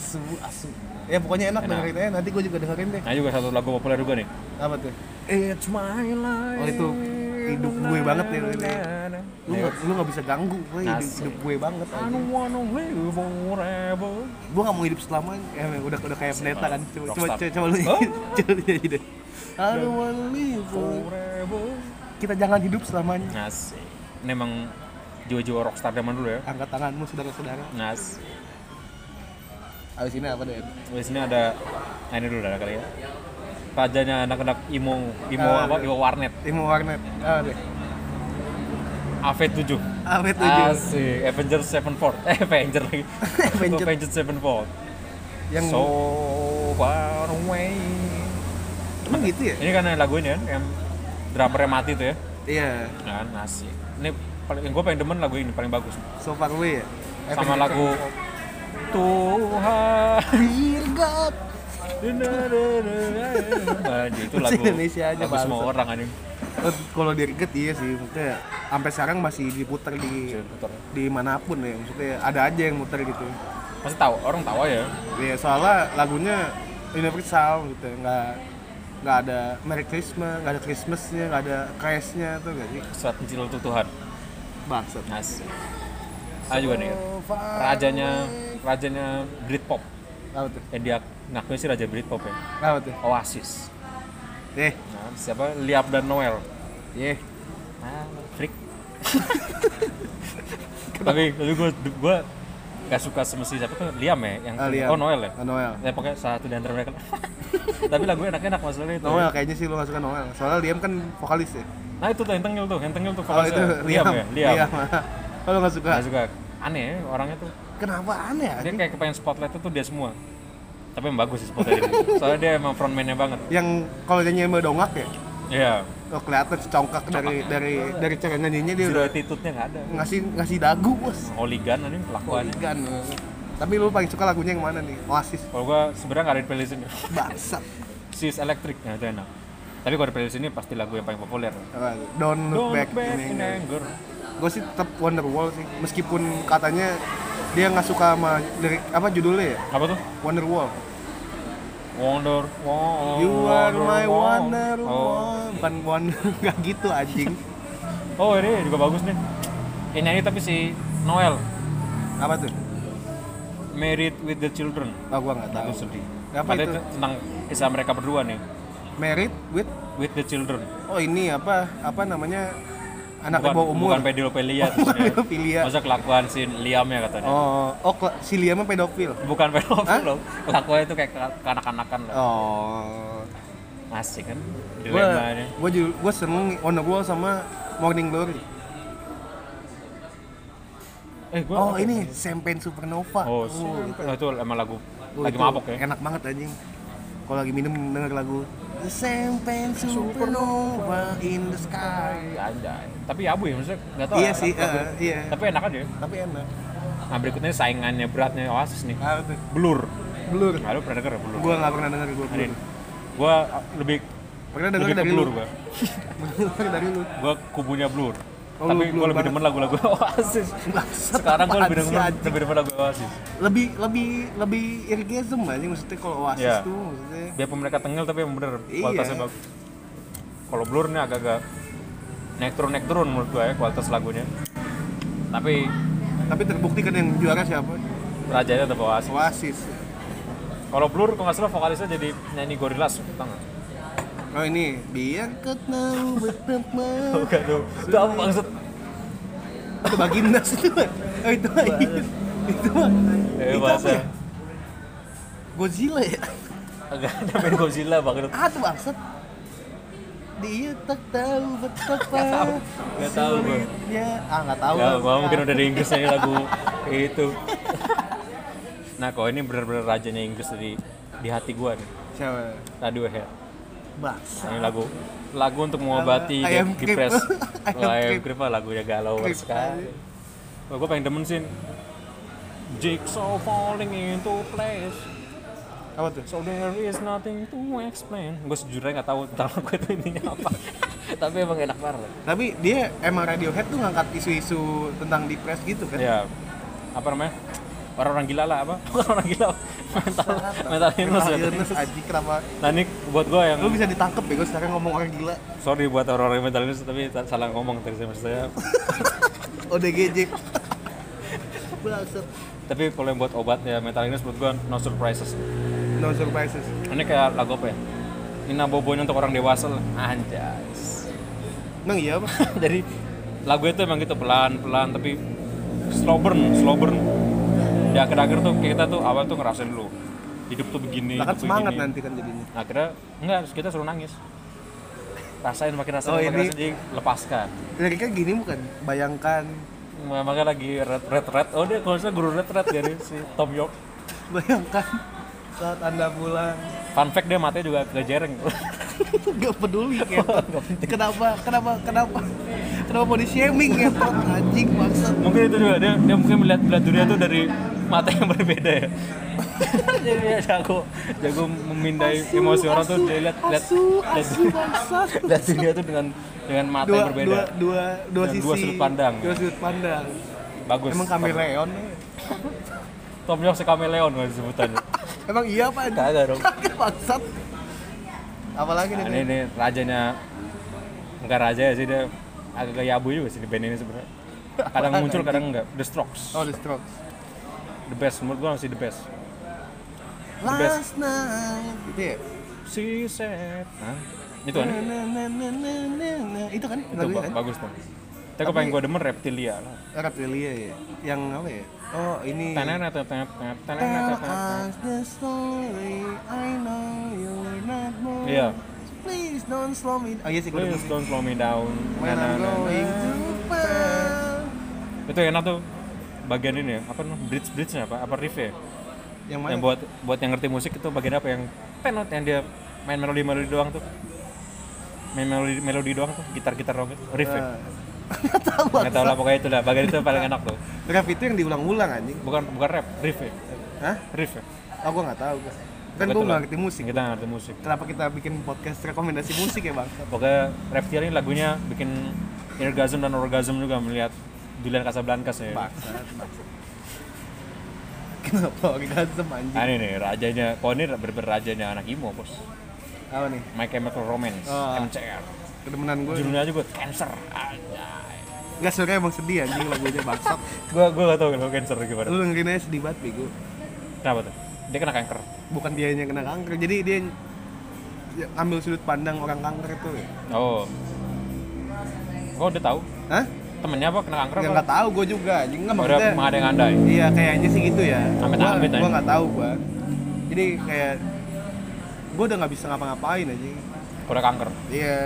[SPEAKER 2] asu asu ya pokoknya enak,
[SPEAKER 3] Enak.
[SPEAKER 2] dengerin aja nanti gua juga dengerin deh
[SPEAKER 3] nah juga satu lagu populer juga nih
[SPEAKER 2] apa tuh
[SPEAKER 3] It's my life.
[SPEAKER 2] Oh, itu hidup gue banget ya, ini. lu nggak lu nggak bisa ganggu gue hidup,
[SPEAKER 3] Asik.
[SPEAKER 2] hidup gue banget
[SPEAKER 3] I
[SPEAKER 2] anjing.
[SPEAKER 3] don't wanna live forever.
[SPEAKER 2] gue gak mau hidup selamanya eh, udah udah kayak pendeta kan coba coba
[SPEAKER 3] Rockstar.
[SPEAKER 2] coba, coba lu
[SPEAKER 3] Oh.
[SPEAKER 2] coba lu nyanyi deh I don't wanna live forever.
[SPEAKER 3] Forever.
[SPEAKER 2] kita jangan hidup selamanya
[SPEAKER 3] Asik. Ini emang jiwa-jiwa rockstar zaman dulu ya.
[SPEAKER 2] angkat tanganmu saudara-saudara
[SPEAKER 3] Nas.
[SPEAKER 2] abis ini apa deh
[SPEAKER 3] Di sini ada nah, ini dulu dah kali ya. Rajanya anak-anak imo imo
[SPEAKER 2] Ah,
[SPEAKER 3] apa? Imo warnet.
[SPEAKER 2] tim warnet ah deh
[SPEAKER 3] AV7.
[SPEAKER 2] apa itu
[SPEAKER 3] Asik. Avengers Sevenfold. Eh, Avenger lagi.
[SPEAKER 2] Avenger.
[SPEAKER 3] Avengers Sevenfold.
[SPEAKER 2] yang
[SPEAKER 3] So far away.
[SPEAKER 2] emang gitu ya
[SPEAKER 3] Ini kan lagu ini kan yang drummernya mati tuh ya.
[SPEAKER 2] iya
[SPEAKER 3] Kan asik. Ini paling yang gue paling demen lagu ini paling bagus.
[SPEAKER 2] so far away ya
[SPEAKER 3] sama lagu Tuhan
[SPEAKER 2] Dear God
[SPEAKER 3] Anjir, itu lagu
[SPEAKER 2] Indonesia aja,
[SPEAKER 3] lagu semua
[SPEAKER 2] bangsat.
[SPEAKER 3] orang anjing
[SPEAKER 2] Eh, kalau dirget iya sih maksudnya sampai sekarang masih diputar di
[SPEAKER 3] Iya.
[SPEAKER 2] di manapun ya maksudnya ada aja yang muter gitu
[SPEAKER 3] pasti tahu orang tahu aja
[SPEAKER 2] Ya soalnya lagunya universal gitu, nggak nggak ada Merry Christmas, nggak ada Christmasnya, nggak ada Crashnya tuh gak sih?
[SPEAKER 3] surat pencinta untuk Tuhan
[SPEAKER 2] Bangsat.
[SPEAKER 3] Asik. Ah juga nih. Rajanya rajanya Britpop.
[SPEAKER 2] Apa tuh?
[SPEAKER 3] Yang dia ngakuin sih raja Britpop ya.
[SPEAKER 2] Apa tuh?
[SPEAKER 3] Oasis.
[SPEAKER 2] Eh,
[SPEAKER 3] Nah, siapa? Liam dan Noel.
[SPEAKER 2] ye.
[SPEAKER 3] Ah, freak. tapi tapi gue gue gak suka sama si siapa tuh Liam ya yang
[SPEAKER 2] Ah, Liam.
[SPEAKER 3] oh Noel ya.
[SPEAKER 2] Ah, Noel.
[SPEAKER 3] Ya pokoknya satu di antara mereka. tapi lagunya enak-enak masalahnya itu.
[SPEAKER 2] Noel kayaknya sih lu gak suka Noel. Soalnya Liam kan vokalis ya.
[SPEAKER 3] Nah itu tuh yang tengil tuh, yang tengil tuh
[SPEAKER 2] Kalau
[SPEAKER 3] fansnya.
[SPEAKER 2] Oh, itu Liam. Iya.
[SPEAKER 3] ya, Liam.
[SPEAKER 2] Kalau gak suka.
[SPEAKER 3] Gak suka. Aneh ya, orangnya tuh.
[SPEAKER 2] Kenapa aneh ya?
[SPEAKER 3] Dia kayak kepengen spotlight tuh dia semua. Tapi emang bagus sih spotlight ini. Soalnya dia emang frontman-nya banget.
[SPEAKER 2] Yang kalau nyanyi sama dongak ya,
[SPEAKER 3] Iya.
[SPEAKER 2] lo kelihatan congkak dari dari dari cara nyanyinya dia
[SPEAKER 3] Zero
[SPEAKER 2] udah
[SPEAKER 3] attitude-nya nggak ada.
[SPEAKER 2] ngasih ngasih dagu bos.
[SPEAKER 3] Oligan ini kelakuannya.
[SPEAKER 2] Kan. Tapi lu paling suka lagunya yang mana nih? Oasis.
[SPEAKER 3] Kalau gua sebenarnya nggak ada di playlist ini.
[SPEAKER 2] Bangsat.
[SPEAKER 3] Sis Electric, nah itu enak. Tapi kalau di playlist ini pasti lagu yang paling populer.
[SPEAKER 2] Apa? Don't look
[SPEAKER 3] Don't
[SPEAKER 2] back.
[SPEAKER 3] look back in
[SPEAKER 2] ini.
[SPEAKER 3] anger.
[SPEAKER 2] Gue sih tetap Wonderwall sih. Meskipun katanya dia nggak suka sama lirik apa judulnya ya?
[SPEAKER 3] Apa tuh?
[SPEAKER 2] Wonderwall.
[SPEAKER 3] Wonder, Oh. wall,
[SPEAKER 2] You are my
[SPEAKER 3] wall.
[SPEAKER 2] Wonderwall. Bukan Wonder nggak gitu anjing.
[SPEAKER 3] Oh. oh, ini juga bagus nih. Yang nyanyi tapi si Noel,
[SPEAKER 2] Apa tuh?
[SPEAKER 3] Married with the Children.
[SPEAKER 2] Ah gua nggak tahu.
[SPEAKER 3] Aku sedih.
[SPEAKER 2] Apa
[SPEAKER 3] Padahal
[SPEAKER 2] itu?
[SPEAKER 3] itu tentang kisah mereka berdua nih,
[SPEAKER 2] Married with
[SPEAKER 3] with the children.
[SPEAKER 2] Oh ini apa apa namanya anak di bawah umur.
[SPEAKER 3] bukan pedofilia tuh sebenarnya.
[SPEAKER 2] Pedofilia.
[SPEAKER 3] Masa kelakuan si Liamnya katanya.
[SPEAKER 2] Oh, oh kela- si Liam mah pedofil.
[SPEAKER 3] Bukan pedofil loh. Kelakuannya itu kayak ke- kanak-kanakan loh.
[SPEAKER 2] Oh.
[SPEAKER 3] Asik kan
[SPEAKER 2] Gua
[SPEAKER 3] dilemanya.
[SPEAKER 2] gua ju- gua seneng On the Wall sama Morning Glory.
[SPEAKER 3] Eh, gua
[SPEAKER 2] Oh, ini Champagne Supernova.
[SPEAKER 3] Oh, si- oh, itu emang lagu
[SPEAKER 2] iya. Oh,
[SPEAKER 3] lagi
[SPEAKER 2] itu
[SPEAKER 3] mabok ya.
[SPEAKER 2] Enak banget anjing. Kalau lagi minum denger lagu Champagne Supernova in the sky.
[SPEAKER 3] Anjay. Tapi ya abu ya maksudnya enggak tahu.
[SPEAKER 2] Iya
[SPEAKER 3] enak
[SPEAKER 2] sih,
[SPEAKER 3] apa
[SPEAKER 2] eh,
[SPEAKER 3] enggak.
[SPEAKER 2] iya.
[SPEAKER 3] Tapi enak aja. ya.
[SPEAKER 2] Tapi enak.
[SPEAKER 3] Nah, berikutnya saingannya beratnya Oasis nih.
[SPEAKER 2] Ah, tuh.
[SPEAKER 3] Blur.
[SPEAKER 2] Blur.
[SPEAKER 3] Nah, lu pernah denger ya, Blur?
[SPEAKER 2] Gua nggak pernah denger gua Blur.
[SPEAKER 3] Arin. Gua uh, lebih
[SPEAKER 2] Pernah denger
[SPEAKER 3] lebih ke
[SPEAKER 2] dari lu.
[SPEAKER 3] Blur gua.
[SPEAKER 2] Denger dari lu.
[SPEAKER 3] gue kubunya Blur
[SPEAKER 2] Oh, lu
[SPEAKER 3] tapi
[SPEAKER 2] Blur
[SPEAKER 3] gue lebih
[SPEAKER 2] banget.
[SPEAKER 3] demen lagu-lagu Oasis
[SPEAKER 2] Bangsat,
[SPEAKER 3] sekarang gue
[SPEAKER 2] apaan
[SPEAKER 3] lebih
[SPEAKER 2] sih,
[SPEAKER 3] demen
[SPEAKER 2] anjing?
[SPEAKER 3] lebih demen lagu Oasis
[SPEAKER 2] lebih lebih lebih irgasm aja maksudnya kalau oasis
[SPEAKER 3] Iya.
[SPEAKER 2] tuh maksudnya
[SPEAKER 3] biarpun mereka tengil tapi yang bener
[SPEAKER 2] Iya.
[SPEAKER 3] kualitasnya bagus kalau Blur nih agak-agak naik turun naik turun menurut gue ya kualitas lagunya tapi
[SPEAKER 2] tapi terbukti kan yang juara siapa
[SPEAKER 3] rajanya tetap Oasis
[SPEAKER 2] oasis
[SPEAKER 3] kalau Blur kalau nggak salah vokalisnya jadi nyanyi Gorillaz tau nggak
[SPEAKER 2] oh ini biar kau tahu betapa
[SPEAKER 3] bukan tuh itu apa maksud
[SPEAKER 2] itu baginda itu oh itu itu mah itu apa
[SPEAKER 3] eh
[SPEAKER 2] ya
[SPEAKER 3] bahasa
[SPEAKER 2] Godzilla ya
[SPEAKER 3] agak ada main Godzilla banget
[SPEAKER 2] ah tuh bangsat dia tak tahu betapa
[SPEAKER 3] nggak tahu gue
[SPEAKER 2] sulitnya ah nggak tahu
[SPEAKER 3] Ya,
[SPEAKER 2] lah.
[SPEAKER 3] gua mungkin udah di Inggris nyanyi lagu itu. Nah, kok ini bener-bener rajanya Inggris di di hati gua nih.
[SPEAKER 2] siapa
[SPEAKER 3] Radiohead.
[SPEAKER 2] bangsat
[SPEAKER 3] Ini lagu lagu untuk mengobati
[SPEAKER 2] I am
[SPEAKER 3] de- depresi.
[SPEAKER 2] Creep. I am
[SPEAKER 3] Wah, I am
[SPEAKER 2] Creep.
[SPEAKER 3] Creep lah, lagunya galau
[SPEAKER 2] Creep
[SPEAKER 3] sekali. Wah, gua pengen demen sih. Jigsaw falling into place.
[SPEAKER 2] apa tuh
[SPEAKER 3] So there is nothing to explain. Gue sejujurnya nggak tahu tentang lagu itu intinya apa. Tapi emang enak banget.
[SPEAKER 2] tapi dia emang Radiohead tuh ngangkat isu-isu tentang depres gitu kan
[SPEAKER 3] ya apa namanya orang-orang gila lah apa Bukan orang gila mental mental illness ya.
[SPEAKER 2] illness aji kenapa
[SPEAKER 3] nah ini buat gue yang
[SPEAKER 2] lu bisa ditangkep ya gue sekarang ngomong orang gila
[SPEAKER 3] sorry buat orang-orang yang mental illness tapi ta- salah ngomong tadi saya maksud saya
[SPEAKER 2] ODGJ Bangsat.
[SPEAKER 3] tapi kalau yang buat obat ya mental illness menurut gue no surprises
[SPEAKER 2] no surprises
[SPEAKER 3] ini kayak lagu apa ya Nina Bobonya untuk orang dewasa lah anjas
[SPEAKER 2] emang iya apa?
[SPEAKER 3] jadi lagu itu emang gitu pelan-pelan tapi slow burn slow burn di akhir-akhir tuh kita tuh awal tuh ngerasain dulu hidup tuh begini
[SPEAKER 2] Lah kan
[SPEAKER 3] hidup tuh
[SPEAKER 2] semangat
[SPEAKER 3] begini.
[SPEAKER 2] nanti kan jadinya
[SPEAKER 3] akhirnya enggak terus kita suruh nangis rasain makin rasain
[SPEAKER 2] Oh,
[SPEAKER 3] makin
[SPEAKER 2] ini-
[SPEAKER 3] rasain jadi lepaskan
[SPEAKER 2] liriknya gini bukan? bayangkan
[SPEAKER 3] makanya lagi red red red oh dia kalau nggak salah guru red red jadi si Tom York
[SPEAKER 2] bayangkan saat anda pulang
[SPEAKER 3] fun fact dia matanya juga agak jereng
[SPEAKER 2] gak peduli ketot kenapa kenapa kenapa kenapa mau di shaming ketot anjing maksud
[SPEAKER 3] mungkin itu juga dia, dia mungkin melihat melihat dunia itu dari mata yang berbeda ya jadi dia jago jago memindai emosi orang tuh dia lihat lihat
[SPEAKER 2] asu
[SPEAKER 3] lihat-
[SPEAKER 2] asu bangsat
[SPEAKER 3] lihat dunia tuh dengan dengan mata
[SPEAKER 2] dua,
[SPEAKER 3] yang berbeda
[SPEAKER 2] dua, dua, dua
[SPEAKER 3] Dan
[SPEAKER 2] sisi
[SPEAKER 3] dua sudut pandang.
[SPEAKER 2] dua sudut pandang
[SPEAKER 3] bagus
[SPEAKER 2] Emang kameleon ya?
[SPEAKER 3] Tom York sekameleon kalau disebutannya
[SPEAKER 2] Emang iya apa ada?
[SPEAKER 3] kagak dong
[SPEAKER 2] Bangsat. Apalagi nih?
[SPEAKER 3] Nah, ini, ya ini rajanya bukan raja ya sih dia agak gaya abu juga sih di band ini sebenarnya. kadang muncul kadang enggak The Strokes
[SPEAKER 2] Oh, The Strokes.
[SPEAKER 3] the best menurut gua masih the best best.
[SPEAKER 2] Last night. Gitu ya?
[SPEAKER 3] si set Hah? itu kan
[SPEAKER 2] Na, na, na, na, na, na. Itu kan
[SPEAKER 3] itu
[SPEAKER 2] lagunya
[SPEAKER 3] ba-
[SPEAKER 2] kan?
[SPEAKER 3] bagus tuh tapi kalau paling gua demen Reptilia lah
[SPEAKER 2] Reptilia ya. Yang apa ya? Oh, ini.
[SPEAKER 3] Tanana, tanana, tanana, tanana,
[SPEAKER 2] Tell
[SPEAKER 3] tanana.
[SPEAKER 2] us the story. I know you're not born.
[SPEAKER 3] Iya.
[SPEAKER 2] Please don't slow me. Oh iya sih, gue udah
[SPEAKER 3] Please
[SPEAKER 2] musik.
[SPEAKER 3] don't slow me down
[SPEAKER 2] When I'm
[SPEAKER 3] Nanana.
[SPEAKER 2] going too fast.
[SPEAKER 3] itu enak tuh bagian ini ya apa namanya bridge bridge nya apa apa riff ya
[SPEAKER 2] Yang mana?
[SPEAKER 3] yang buat buat yang ngerti musik itu bagian apa yang penot yang dia main melodi melodi doang tuh main melodi melodi doang tuh gitar gitar doang gitu. riff ya
[SPEAKER 2] Nah. Nggak tahu.
[SPEAKER 3] nggak tahu lah pokoknya itu lah bagian itu paling enak tuh
[SPEAKER 2] Rap itu yang diulang-ulang anjing.
[SPEAKER 3] bukan bukan rap riff ya
[SPEAKER 2] Hah?
[SPEAKER 3] riff ya
[SPEAKER 2] Oh, gue nggak tahu. guys. Kan gue
[SPEAKER 3] Betul
[SPEAKER 2] nggak
[SPEAKER 3] lah.
[SPEAKER 2] ngerti musik.
[SPEAKER 3] kita ngerti musik
[SPEAKER 2] Kenapa kita bikin podcast rekomendasi musik ya bang?
[SPEAKER 3] pokoknya Reptil ini lagunya bikin orgasm dan orgasm juga melihat Julian Casablancas ya
[SPEAKER 2] Paksa. Kenapa orgasm anjing?
[SPEAKER 3] nah, ini nih rajanya kalau ini bener-bener rajanya anak emo bos
[SPEAKER 2] Apa nih?
[SPEAKER 3] My Chemical Romance
[SPEAKER 2] Ah.
[SPEAKER 3] MCR
[SPEAKER 2] Kedemenan gue.
[SPEAKER 3] judulnya aja gue cancer anjay
[SPEAKER 2] Gak suka emang sedih anjing lagunya bangsat.
[SPEAKER 3] gue gue gak tau kalau cancer gimana
[SPEAKER 2] Lu dengerin aja sedih banget bego.
[SPEAKER 3] kenapa tuh dia kena kanker
[SPEAKER 2] Bukan dia yang kena kanker. Jadi dia ya, ambil sudut pandang orang kanker itu. Ya.
[SPEAKER 3] oh kok dia tahu
[SPEAKER 2] Hah?
[SPEAKER 3] temennya apa kena kanker
[SPEAKER 2] Gak,
[SPEAKER 3] apa
[SPEAKER 2] nggak tahu gue juga anjing nggak
[SPEAKER 3] udah
[SPEAKER 2] maksudnya.
[SPEAKER 3] mengadang andai
[SPEAKER 2] Iya kayaknya sih gitu ya.
[SPEAKER 3] Amit-
[SPEAKER 2] Gua-
[SPEAKER 3] amit,
[SPEAKER 2] Gua
[SPEAKER 3] anjing.
[SPEAKER 2] nggak tahu gua. Jadi kayak gua udah nggak bisa ngapa-ngapain anjing.
[SPEAKER 3] udah kanker
[SPEAKER 2] Iya.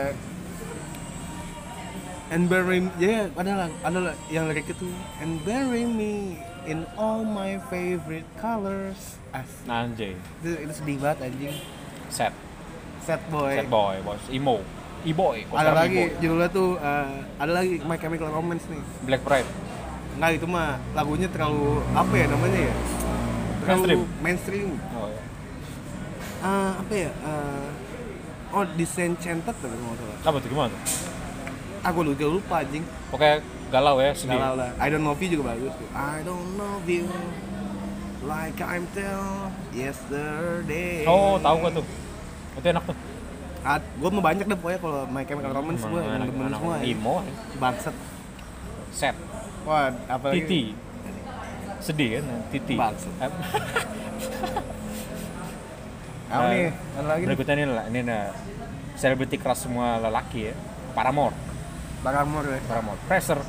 [SPEAKER 2] And bury me, ya ada lah, ada lah yang lirik itu And bury me in all my favorite colors As,
[SPEAKER 3] anjay
[SPEAKER 2] itu, itu sedih banget anjing
[SPEAKER 3] sad
[SPEAKER 2] Sad boy,
[SPEAKER 3] sad boy bos emo e-boy bos,
[SPEAKER 2] Ada
[SPEAKER 3] orang
[SPEAKER 2] lagi
[SPEAKER 3] e-boy.
[SPEAKER 2] judulnya tuh, eh, ada lagi My Chemical Romance nih
[SPEAKER 3] black pride
[SPEAKER 2] Enggak itu mah, lagunya terlalu, apa ya namanya ya Terlalu
[SPEAKER 3] Mainstream.
[SPEAKER 2] mainstream
[SPEAKER 3] oh iya.
[SPEAKER 2] Eh, Apa ya, eh, oh Disenchanted tapi nggak salah
[SPEAKER 3] apa tuh gimana tuh?
[SPEAKER 2] Ah gue lupa, lupa anjing
[SPEAKER 3] pokoknya galau ya sedih
[SPEAKER 2] Galau lah. I don't know you juga bagus tuh. I don't know you like I'm tell yesterday.
[SPEAKER 3] oh tahu gua tuh itu enak tuh
[SPEAKER 2] Ah, gue mau banyak deh pokoknya kalau My Chemical Romance gue yang
[SPEAKER 3] anak,
[SPEAKER 2] demen
[SPEAKER 3] anak
[SPEAKER 2] semua. Ya. Oh,
[SPEAKER 3] emo
[SPEAKER 2] Bangsat.
[SPEAKER 3] sad
[SPEAKER 2] Wah, apa lagi?
[SPEAKER 3] titi sedih kan titi
[SPEAKER 2] iya. Bangsat.
[SPEAKER 3] Eh,
[SPEAKER 2] Apa nih?
[SPEAKER 3] Nah.
[SPEAKER 2] Ada lagi? nih?
[SPEAKER 3] berikutnya ini lah ini nah selebriti keras semua lelaki ya Paramore
[SPEAKER 2] Paramore ya.
[SPEAKER 3] Paramore Pressure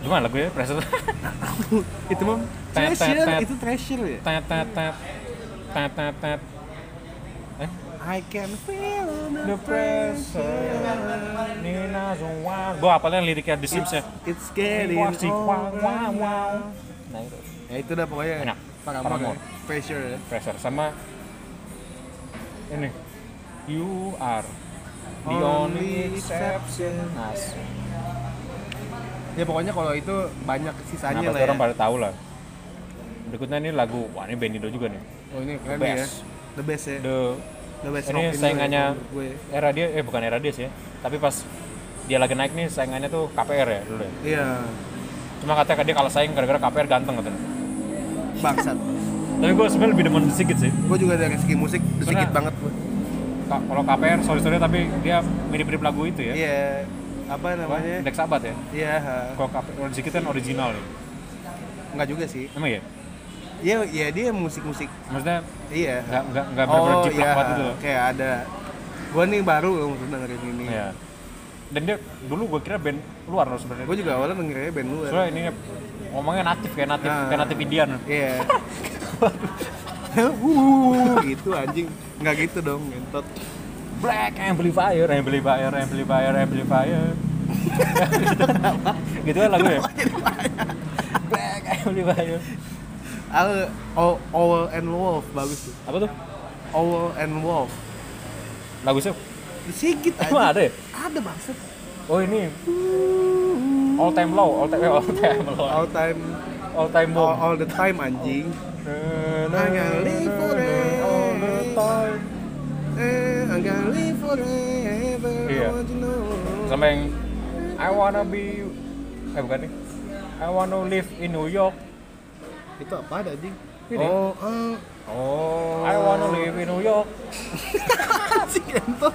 [SPEAKER 3] gimana lagunya Pressure
[SPEAKER 2] itu mah
[SPEAKER 3] Tet, tet,
[SPEAKER 2] treasure,
[SPEAKER 3] tet.
[SPEAKER 2] itu treasure ya.
[SPEAKER 3] tet tet tet tet tet tet eh
[SPEAKER 2] I can feel
[SPEAKER 3] the
[SPEAKER 2] the
[SPEAKER 3] pressure
[SPEAKER 2] pressure.
[SPEAKER 3] Nina Zumwa gua apalnya liriknya The Sims ya
[SPEAKER 2] It's getting
[SPEAKER 3] Wah, si- wah, wah,
[SPEAKER 2] older.
[SPEAKER 3] wah. nah itu
[SPEAKER 2] Ya itu dah pokoknya.
[SPEAKER 3] Enak.
[SPEAKER 2] Paramore.
[SPEAKER 3] Paramore.
[SPEAKER 2] ya. Treasure ya.
[SPEAKER 3] Pressure sama ini You are the
[SPEAKER 2] Only
[SPEAKER 3] only Nah, exception Nas
[SPEAKER 2] Ya pokoknya kalau itu banyak
[SPEAKER 3] nah
[SPEAKER 2] sisanya
[SPEAKER 3] pasti
[SPEAKER 2] lah. Ya.
[SPEAKER 3] orang pada tahu lah berikutnya ini lagu wah ini Bendido juga nih
[SPEAKER 2] Oh ini keren
[SPEAKER 3] Best.
[SPEAKER 2] ya. The best ya.
[SPEAKER 3] The
[SPEAKER 2] The best
[SPEAKER 3] Ini
[SPEAKER 2] rock in the
[SPEAKER 3] saingannya
[SPEAKER 2] world menurut gue.
[SPEAKER 3] era dia eh bukan era dia sih ya. tapi pas dia lagi naik nih saingannya tuh KPR ya dulu ya.
[SPEAKER 2] Iya,
[SPEAKER 3] cuma katanya dia kalah saing gara-gara KPR ganteng katanya
[SPEAKER 2] bangsat.
[SPEAKER 3] tapi gue sebenarnya lebih demen sedikit sih
[SPEAKER 2] gue juga dari segi musik sedikit
[SPEAKER 3] Karena-
[SPEAKER 2] banget gue.
[SPEAKER 3] Iya? Ka- kalau KPR sorry sorry tapi dia mirip-mirip lagu itu ya
[SPEAKER 2] Iya, apa namanya?
[SPEAKER 3] Indeks abad ya
[SPEAKER 2] Iya, ha.
[SPEAKER 3] kalau KPR sedikit kan original ya
[SPEAKER 2] nggak juga sih.
[SPEAKER 3] emang ya
[SPEAKER 2] Iya, iya dia musik-musik.
[SPEAKER 3] maksudnya
[SPEAKER 2] Iya.
[SPEAKER 3] nggak nggak nggak benar-benar jiplak banget gitu loh
[SPEAKER 2] kayak ada. Gue nih baru loh untuk dengerin ini.
[SPEAKER 3] Iya. dan dia dulu gue kira band luar loh sebenarnya
[SPEAKER 2] Gue juga awalnya dengerin band luar.
[SPEAKER 3] soalnya ini ngomongnya natif kayak natif
[SPEAKER 2] Nah.
[SPEAKER 3] kayak natif Indian
[SPEAKER 2] Iya. Wuh, gitu anjing. Nggak gitu dong, ngentot.
[SPEAKER 3] Black amplifier, amplifier, amplifier, amplifier. gitu kan lagu ya? Black amplifier.
[SPEAKER 2] Al, O- Owl and Wolf bagus tuh.
[SPEAKER 3] Apa tuh?
[SPEAKER 2] Owl and Wolf.
[SPEAKER 3] Lagu siapa?
[SPEAKER 2] Sigit
[SPEAKER 3] Emang
[SPEAKER 2] aja.
[SPEAKER 3] ada ya?
[SPEAKER 2] Ada bangsat.
[SPEAKER 3] Oh ini all time low, all time eh, all time low,
[SPEAKER 2] All time
[SPEAKER 3] all time
[SPEAKER 2] all,
[SPEAKER 3] bomb.
[SPEAKER 2] all the time anjing.
[SPEAKER 3] Na, na,
[SPEAKER 2] Tangan
[SPEAKER 3] na,
[SPEAKER 2] libur,
[SPEAKER 3] na,
[SPEAKER 2] eh.
[SPEAKER 3] all the time.
[SPEAKER 2] Eh, I'm gonna live forever. I
[SPEAKER 3] Iya.
[SPEAKER 2] want you know.
[SPEAKER 3] Sama yang I wanna be eh bukan nih. I wanna live in New York.
[SPEAKER 2] Itu apa ada anjing?
[SPEAKER 3] Ini. ya?
[SPEAKER 2] Oh, eh.
[SPEAKER 3] Oh. I wanna live in New York.
[SPEAKER 2] anjing entot.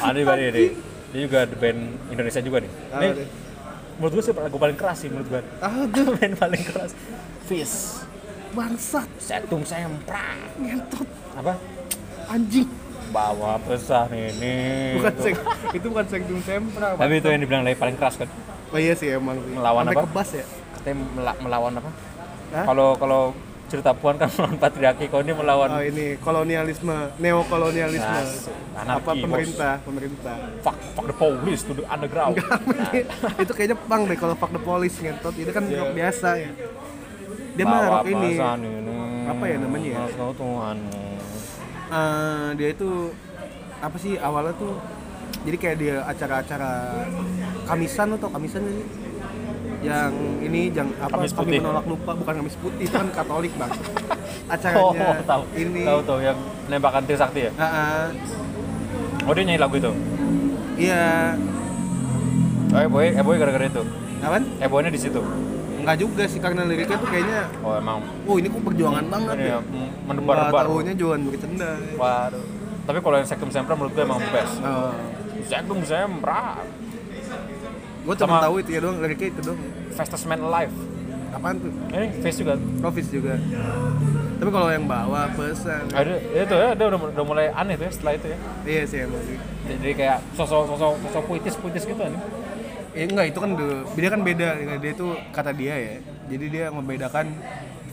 [SPEAKER 3] Ah, Ada juga nih, nih. Dia juga ada band Indonesia juga nih.
[SPEAKER 2] Apa
[SPEAKER 3] Nih,
[SPEAKER 2] deh?
[SPEAKER 3] menurut gue sih lagu paling keras sih menurut gue
[SPEAKER 2] ah
[SPEAKER 3] itu
[SPEAKER 2] tuh
[SPEAKER 3] main paling keras Fizz
[SPEAKER 2] bangsat
[SPEAKER 3] setum semprang
[SPEAKER 2] ngentot
[SPEAKER 3] apa
[SPEAKER 2] anjing
[SPEAKER 3] bawa pesan ini
[SPEAKER 2] bukan sek itu bukan sekdum sempra
[SPEAKER 3] Iya. tapi itu yang dibilang dari paling keras kan
[SPEAKER 2] oh iya sih emang sih
[SPEAKER 3] Melawan
[SPEAKER 2] Sampai
[SPEAKER 3] apa?
[SPEAKER 2] kebas ya
[SPEAKER 3] katanya mela- melawan apa
[SPEAKER 2] Hah?
[SPEAKER 3] kalau kalau cerita puan kan melawan patriarki kalau ini melawan
[SPEAKER 2] oh ini kolonialisme neokolonialisme
[SPEAKER 3] Nah, anarki,
[SPEAKER 2] apa
[SPEAKER 3] bos.
[SPEAKER 2] pemerintah pemerintah
[SPEAKER 3] fuck fuck the police to the underground
[SPEAKER 2] itu kayaknya pang deh kalau fuck the police ngentot itu kan rock biasa ya dia mah
[SPEAKER 3] Iya. bawa
[SPEAKER 2] rock ini
[SPEAKER 3] pesan ini
[SPEAKER 2] Apa ya namanya ya?
[SPEAKER 3] Mas kau Tuhan
[SPEAKER 2] Eh, dia itu apa sih awalnya tuh jadi kayak dia acara-acara kamisan lo tau kamisan gak sih? yang ini yang apa
[SPEAKER 3] Kamis
[SPEAKER 2] kami
[SPEAKER 3] putih.
[SPEAKER 2] menolak lupa bukan kamis putih itu kan katolik bang
[SPEAKER 3] oh
[SPEAKER 2] acaranya
[SPEAKER 3] tahu
[SPEAKER 2] ini
[SPEAKER 3] tahu tahu yang nembakan Trisakti ya
[SPEAKER 2] Ah, ah.
[SPEAKER 3] oh dia nyanyi lagu itu
[SPEAKER 2] iya
[SPEAKER 3] oh boy eh boy gara-gara itu
[SPEAKER 2] apaan?
[SPEAKER 3] eh boynya di situ
[SPEAKER 2] Enggak juga sih karena liriknya tuh kayaknya
[SPEAKER 3] oh emang
[SPEAKER 2] oh ini kok perjuangan banget ya.
[SPEAKER 3] ini ya m-
[SPEAKER 2] Enggak
[SPEAKER 3] mendebar-debar
[SPEAKER 2] tahunya Johan Bukit Tenda.
[SPEAKER 3] Waduh. Tapi kalau yang Sektum Sempra menurut gue emang best.
[SPEAKER 2] Oh.
[SPEAKER 3] Sektum Sempra,
[SPEAKER 2] Gue cuma
[SPEAKER 3] Sama-
[SPEAKER 2] tahu itu ya doang liriknya itu doang.
[SPEAKER 3] fastest man alive.
[SPEAKER 2] Apaan tuh?
[SPEAKER 3] Ini face juga.
[SPEAKER 2] Profis juga. Tapi kalau yang bawa pesan.
[SPEAKER 3] Ada itu ya, dia udah, udah mulai aneh tuh ya setelah itu ya.
[SPEAKER 2] Iya sih emang sih.
[SPEAKER 3] Jadi kayak sosok sosok sosok puitis puitis gitu nih.
[SPEAKER 2] Eh, enggak itu kan the- dia kan beda dia itu kata dia ya jadi dia membedakan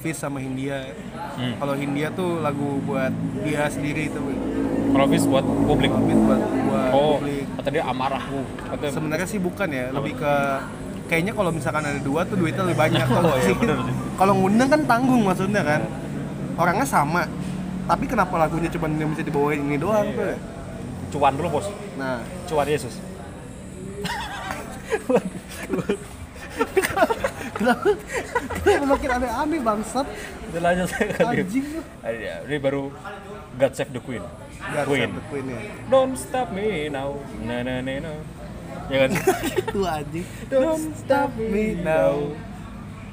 [SPEAKER 2] Fish sama Hindia
[SPEAKER 3] Hmm.
[SPEAKER 2] kalau Hindia tuh lagu buat dia sendiri itu
[SPEAKER 3] Kalau face buat publik.
[SPEAKER 2] Kalau Fish buat buat
[SPEAKER 3] Oh,
[SPEAKER 2] publik
[SPEAKER 3] kata dia amarahku. Kata
[SPEAKER 2] sebenarnya sih bukan ya lebih ke kayaknya kalau misalkan ada dua tuh duitnya lebih banyak tau
[SPEAKER 3] Oh,
[SPEAKER 2] gak
[SPEAKER 3] iya,
[SPEAKER 2] sih?
[SPEAKER 3] bener sih.
[SPEAKER 2] kalau ngundang kan tanggung maksudnya kan orangnya sama tapi kenapa lagunya cuma yang bisa dibawain ini doang
[SPEAKER 3] Iya.
[SPEAKER 2] tuh ya?
[SPEAKER 3] cuan dulu bos,
[SPEAKER 2] nah
[SPEAKER 3] cuan Yesus.
[SPEAKER 2] kenapa kenapa makin aneh-aneh bangsat
[SPEAKER 3] Itu lanjut saya kali.
[SPEAKER 2] anjing lu
[SPEAKER 3] Ini baru God Save the Queen.
[SPEAKER 2] Gak
[SPEAKER 3] Queen.
[SPEAKER 2] accept the Queen ya
[SPEAKER 3] Don't stop me now. Na na na na. Ya kan?
[SPEAKER 2] itu anjing
[SPEAKER 3] Don't stop me now.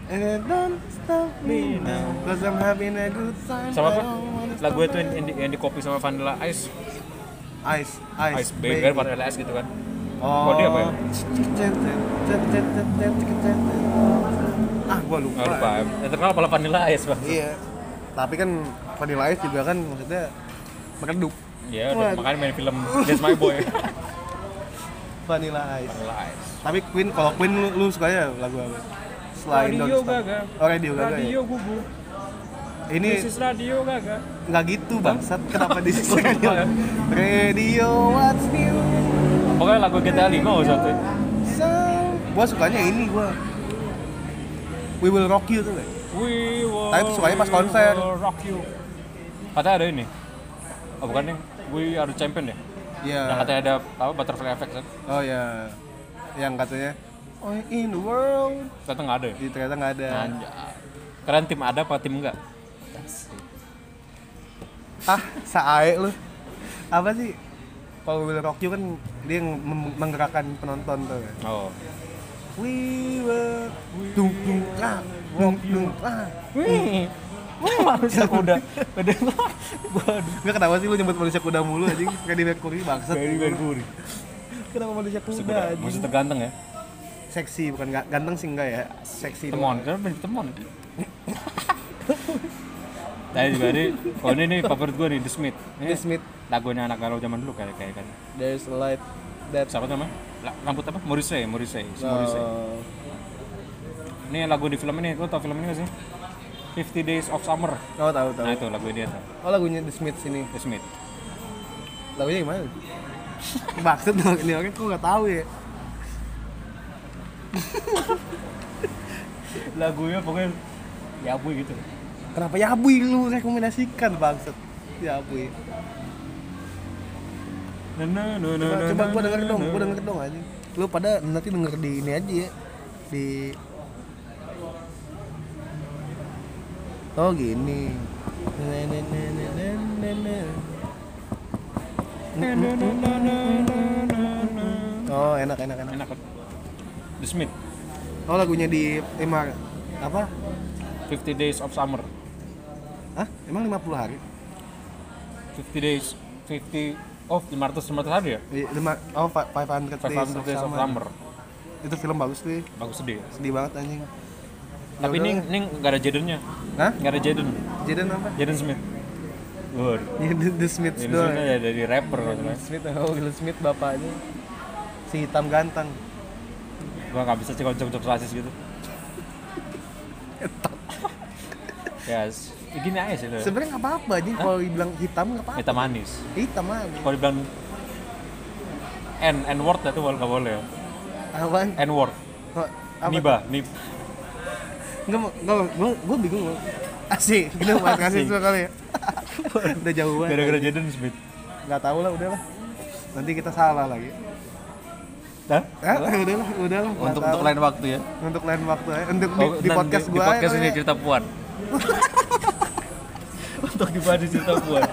[SPEAKER 2] and then don't stop me now cause I'm having a good time
[SPEAKER 3] sama
[SPEAKER 2] I
[SPEAKER 3] apa?
[SPEAKER 2] don't wanna
[SPEAKER 3] Lagu
[SPEAKER 2] stop
[SPEAKER 3] itu yang, yang, di, yang di copy sama Vanilla
[SPEAKER 2] Ice
[SPEAKER 3] Ice, Ice,
[SPEAKER 2] Ice,
[SPEAKER 3] Baby, kan Vanilla Ice gitu kan.
[SPEAKER 2] Oh,
[SPEAKER 3] Kode apa ya?
[SPEAKER 2] Ah, gua lupa.
[SPEAKER 3] Nggak lupa. Yang terkenal malah Vanilla Ice bang.
[SPEAKER 2] Iya. Tapi kan Vanilla Ice juga kan maksudnya meredup.
[SPEAKER 3] Ya, udah,
[SPEAKER 2] Waduh.
[SPEAKER 3] makanya main film That's My Boy.
[SPEAKER 2] Vanilla Ice.
[SPEAKER 3] Vanilla Ice.
[SPEAKER 2] Tapi Queen, kalau Queen lu, lu sukanya lagu apa? Selain
[SPEAKER 3] Radio
[SPEAKER 2] Don't Stop.
[SPEAKER 3] Gaga.
[SPEAKER 2] Oh, Radio Gaga.
[SPEAKER 3] Radio Gugu.
[SPEAKER 2] Ya? Ini
[SPEAKER 3] This is Radio Gaga.
[SPEAKER 2] nggak gitu bangsat. Kenapa di sini?
[SPEAKER 3] Lupa ya?
[SPEAKER 2] Radio What's New?
[SPEAKER 3] Pokoknya lagu GTA 5 oh satu.
[SPEAKER 2] So, gua sukanya ini gua. We Will Rock You tuh. ya? Iya. nggak?
[SPEAKER 3] We will.
[SPEAKER 2] Tapi sukanya pas konser.
[SPEAKER 3] we will Rock you. Katanya ada ini. Oh bukan nih. We are the champion deh.
[SPEAKER 2] Iya.
[SPEAKER 3] Yang katanya ada apa butterfly effect kan?
[SPEAKER 2] Oh ya, yang katanya Oh in the world,
[SPEAKER 3] Ternyata nggak ada. ya?
[SPEAKER 2] Jadi ternyata nggak ada.
[SPEAKER 3] Anjay. Kalian tim ada apa tim enggak?
[SPEAKER 2] Ah, sae lu. Apa sih? Kalau Will Rock You kan dia yang mem- menggerakkan penonton tuh. kan.
[SPEAKER 3] Oh.
[SPEAKER 2] We will dung dung ah, dung dung ah.
[SPEAKER 3] Wih, wih manusia kuda. Kuda gua
[SPEAKER 2] Enggak kenapa sih lu nyebut manusia kuda mulu anjing? Freddie Mercury bangsat.
[SPEAKER 3] Mercury.
[SPEAKER 2] Kenapa manusia kuda?
[SPEAKER 3] Kuda,
[SPEAKER 2] anjing?
[SPEAKER 3] musuh terganteng ya.
[SPEAKER 2] Seksi bukan ga- ganteng sih enggak ya. Seksi.
[SPEAKER 3] Temon, kan mirip temon. Tadi juga ini, oh ini nih favorit gue nih, The Smith. Ini
[SPEAKER 2] Will Smith.
[SPEAKER 3] lagunya anak galau zaman dulu kayak kayak kan.
[SPEAKER 2] There's a light that
[SPEAKER 3] Siapa namanya? La- Rambut apa? Morrissey, Morrissey, si Morrissey.
[SPEAKER 2] uh,
[SPEAKER 3] Ini lagu di film ini, lo tau film ini gak sih? 50 Days of Summer.
[SPEAKER 2] Oh tahu tahu.
[SPEAKER 3] Nah itu lagu dia tuh,
[SPEAKER 2] Oh lagunya The Smiths ini.
[SPEAKER 3] The Smith.
[SPEAKER 2] Lagunya gimana? Maksud dong, ini orang kok gak tahu ya?
[SPEAKER 3] Lagunya pokoknya ya bu gitu.
[SPEAKER 2] Kenapa Yabui lu rekomendasikan Ya, maksud? Yabui.
[SPEAKER 3] Nah, nah,
[SPEAKER 2] Coba,
[SPEAKER 3] nah, nah,
[SPEAKER 2] coba
[SPEAKER 3] nah,
[SPEAKER 2] gua denger
[SPEAKER 3] nah,
[SPEAKER 2] dong,
[SPEAKER 3] nah,
[SPEAKER 2] gua denger dong aja. Lu pada nanti denger di ini aja ya. Di Oh gini.
[SPEAKER 3] nah, nah, nah, nah, nah, nah, nah.
[SPEAKER 2] Oh enak enak enak.
[SPEAKER 3] enak kan The Smith
[SPEAKER 2] Oh lagunya di emang apa?
[SPEAKER 3] 50 Days of Summer
[SPEAKER 2] Hah? Emang 50 hari?
[SPEAKER 3] 50 Days 50 oh 500 500 hari ya
[SPEAKER 2] Iya, lima- Oh, 500 days
[SPEAKER 3] 500 Days of Summer
[SPEAKER 2] itu film bagus deh
[SPEAKER 3] bagus sedih ya?
[SPEAKER 2] sedih banget anjing
[SPEAKER 3] tapi ini ini nggak ada Jadennya
[SPEAKER 2] Hah?
[SPEAKER 3] nggak ada Jaden
[SPEAKER 2] Jaden apa?
[SPEAKER 3] Jaden Smith waduh
[SPEAKER 2] Jaden The Smiths
[SPEAKER 3] Jaden
[SPEAKER 2] doang
[SPEAKER 3] Smith ada ya, dari rapper maksudnya
[SPEAKER 2] Smith, oh Will Smith bapaknya Si hitam ganteng
[SPEAKER 3] gua nggak bisa sih kalau cocok rasis gitu ya s- gini aja sih lo.
[SPEAKER 2] Sebenarnya nggak apa-apa aja kalau dibilang hitam nggak apa-apa
[SPEAKER 3] Meta manis
[SPEAKER 2] Hitam aja
[SPEAKER 3] kalau dibilang N N word ya itu boleh nggak boleh ya
[SPEAKER 2] Apaan?
[SPEAKER 3] N word
[SPEAKER 2] Kok- Apa?
[SPEAKER 3] niba nib
[SPEAKER 2] Nggak, mau- nggak, mau. gua, gua bingung loh Asik, gila banget kasih
[SPEAKER 3] Asik.
[SPEAKER 2] dua kali ya Udah jauh banget
[SPEAKER 3] gara-gara Jaden Smith
[SPEAKER 2] Nggak tahu lah, udah lah Nanti kita salah lagi
[SPEAKER 3] Hah?
[SPEAKER 2] Eh, udah lah, udah lah nggak
[SPEAKER 1] untuk
[SPEAKER 2] tahu
[SPEAKER 1] untuk lain waktu ya
[SPEAKER 2] untuk lain waktu aja. Untuk di,
[SPEAKER 1] Oh,
[SPEAKER 2] di
[SPEAKER 1] dan
[SPEAKER 2] podcast
[SPEAKER 1] di,
[SPEAKER 2] gua
[SPEAKER 1] di podcast
[SPEAKER 2] aja
[SPEAKER 1] ini
[SPEAKER 2] kali ya.
[SPEAKER 1] cerita puan
[SPEAKER 3] untuk dibahas di cerita buat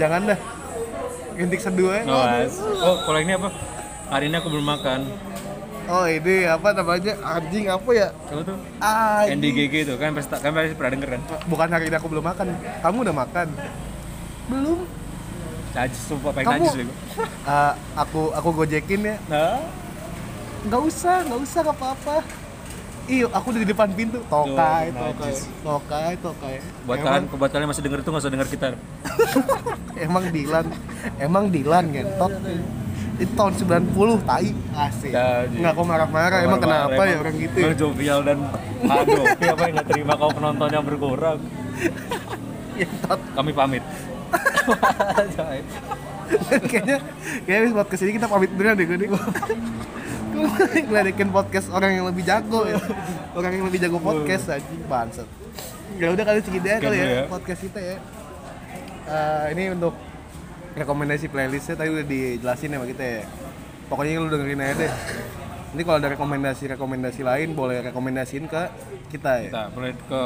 [SPEAKER 2] Jangan dah Intik seduh aja.
[SPEAKER 3] Noas. Oh, kalau ini apa? Hari ini aku belum makan.
[SPEAKER 2] Oh ini apa namanya anjing apa ya?
[SPEAKER 3] Coba tuh.
[SPEAKER 2] Ah,
[SPEAKER 3] NDGG itu kan pesta kan pasti pernah denger kan?
[SPEAKER 2] bukan hari ini aku belum makan. Kamu udah makan? Belum.
[SPEAKER 3] Najis sumpah pengen
[SPEAKER 2] Kamu
[SPEAKER 3] najis bego.
[SPEAKER 2] Ah, aku aku gojekin ya.
[SPEAKER 3] Nah,
[SPEAKER 2] Nggak usah, nggak usah nggak apa-apa. Iya, aku udah di depan pintu. Tokai,
[SPEAKER 3] Tuh,
[SPEAKER 2] tokai,
[SPEAKER 3] najis.
[SPEAKER 2] tokai, tokai.
[SPEAKER 3] buat
[SPEAKER 2] emang,
[SPEAKER 3] kan? kalian buat kalian masih denger itu nggak usah denger kita.
[SPEAKER 2] emang Dilan, emang Dilan gentot. Itu tahun 90 tai asik.
[SPEAKER 3] Najis.
[SPEAKER 2] Nggak kok marah-marah, emang kenapa ya orang gitu? ya?
[SPEAKER 3] Emang jovial dan aduh, apa yang nggak terima kalau penontonnya berkurang.
[SPEAKER 2] Gentot.
[SPEAKER 3] Kami pamit.
[SPEAKER 2] kayaknya kayaknya abis podcast ini kita pamit beneran deh gue nih Gue ngeledekin podcast orang yang lebih jago ya orang yang lebih jago podcast anjing bangsat ya udah kali segini aja kali ya,
[SPEAKER 3] Sekian dulu ya.
[SPEAKER 2] podcast kita ya Eh, ini untuk rekomendasi playlistnya tadi udah dijelasin sama kita ya pokoknya lu dengerin aja deh nanti kalau ada rekomendasi-rekomendasiin lain boleh rekomendasiin ke kita ya
[SPEAKER 3] Nah, boleh ke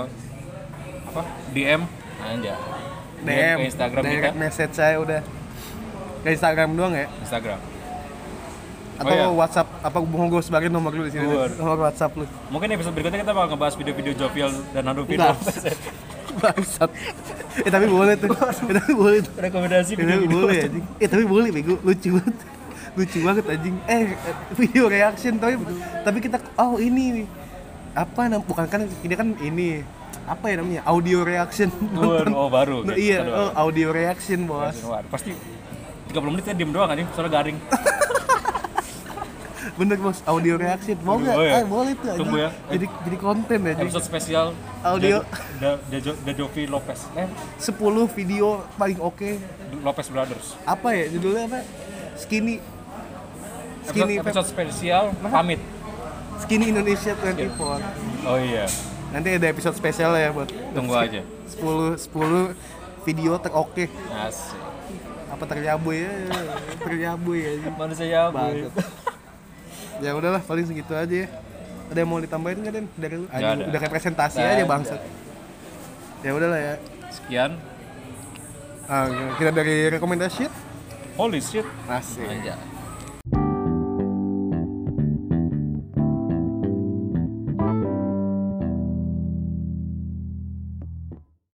[SPEAKER 3] apa? DM aja.
[SPEAKER 2] DM,
[SPEAKER 3] ke Instagram kita,
[SPEAKER 2] direct message saya udah ke Instagram doang ya
[SPEAKER 3] Instagram.
[SPEAKER 2] atau
[SPEAKER 3] Oh, iya.
[SPEAKER 2] WhatsApp apa mau gue sebagai nomor lu di sini deh.
[SPEAKER 3] Bener.
[SPEAKER 2] nomor WhatsApp lu
[SPEAKER 3] Mungkin episode berikutnya kita bakal ngebahas video-video jovial dan Nando Vino.
[SPEAKER 2] Enggak. bangsat eh tapi boleh tuh eh, tapi boleh tuh eh,
[SPEAKER 3] Rekomendasi
[SPEAKER 2] tapi
[SPEAKER 3] video-video
[SPEAKER 2] boleh anjing eh tapi boleh bego lucu banget lucu banget anjing eh eh, video reaction tapi tapi kita oh ini apa nam bukan kan ini kan ini apa ya namanya audio reaction
[SPEAKER 3] Waduh, oh, baru
[SPEAKER 2] Nah,
[SPEAKER 3] gitu.
[SPEAKER 2] iya
[SPEAKER 3] Aduh.
[SPEAKER 2] oh, audio reaction bos
[SPEAKER 3] Waduh, pasti 30 menit saya diem doang anjing, soalnya garing.
[SPEAKER 2] bener bos audio reaction mau
[SPEAKER 3] Aduh,
[SPEAKER 2] nggak
[SPEAKER 3] oh, iya.
[SPEAKER 2] eh, boleh tuh anjing
[SPEAKER 3] Tunggu ya.
[SPEAKER 2] jadi jadi konten anjing
[SPEAKER 3] Episode spesial
[SPEAKER 2] Audio.
[SPEAKER 3] Da, da, da, da Jovi Lopez. Eh,
[SPEAKER 2] 10 video paling oke
[SPEAKER 3] Lopez Brothers.
[SPEAKER 2] apa ya judulnya apa skinny
[SPEAKER 3] Episode,
[SPEAKER 2] skinny
[SPEAKER 3] episode spesial pamit.
[SPEAKER 2] skinny Indonesia 24
[SPEAKER 3] Oh iya.
[SPEAKER 2] nanti ada episode spesial ya buat
[SPEAKER 1] tunggu aja
[SPEAKER 2] 10 10 video teroke
[SPEAKER 3] Asik.
[SPEAKER 2] apa teryabu ya teryabu ya
[SPEAKER 3] Manusia ya,
[SPEAKER 2] Banget. ya udahlah paling segitu aja ya ada yang mau ditambahin nggak Den dari lu Anjing,
[SPEAKER 3] ada.
[SPEAKER 2] udah kayak presentasi
[SPEAKER 3] Nggak
[SPEAKER 2] aja
[SPEAKER 3] ada.
[SPEAKER 2] bangsat ya udahlah ya
[SPEAKER 3] Sekian.
[SPEAKER 2] Ah, kita dari rekomendasi
[SPEAKER 3] Holy shit.
[SPEAKER 2] masih
[SPEAKER 1] aja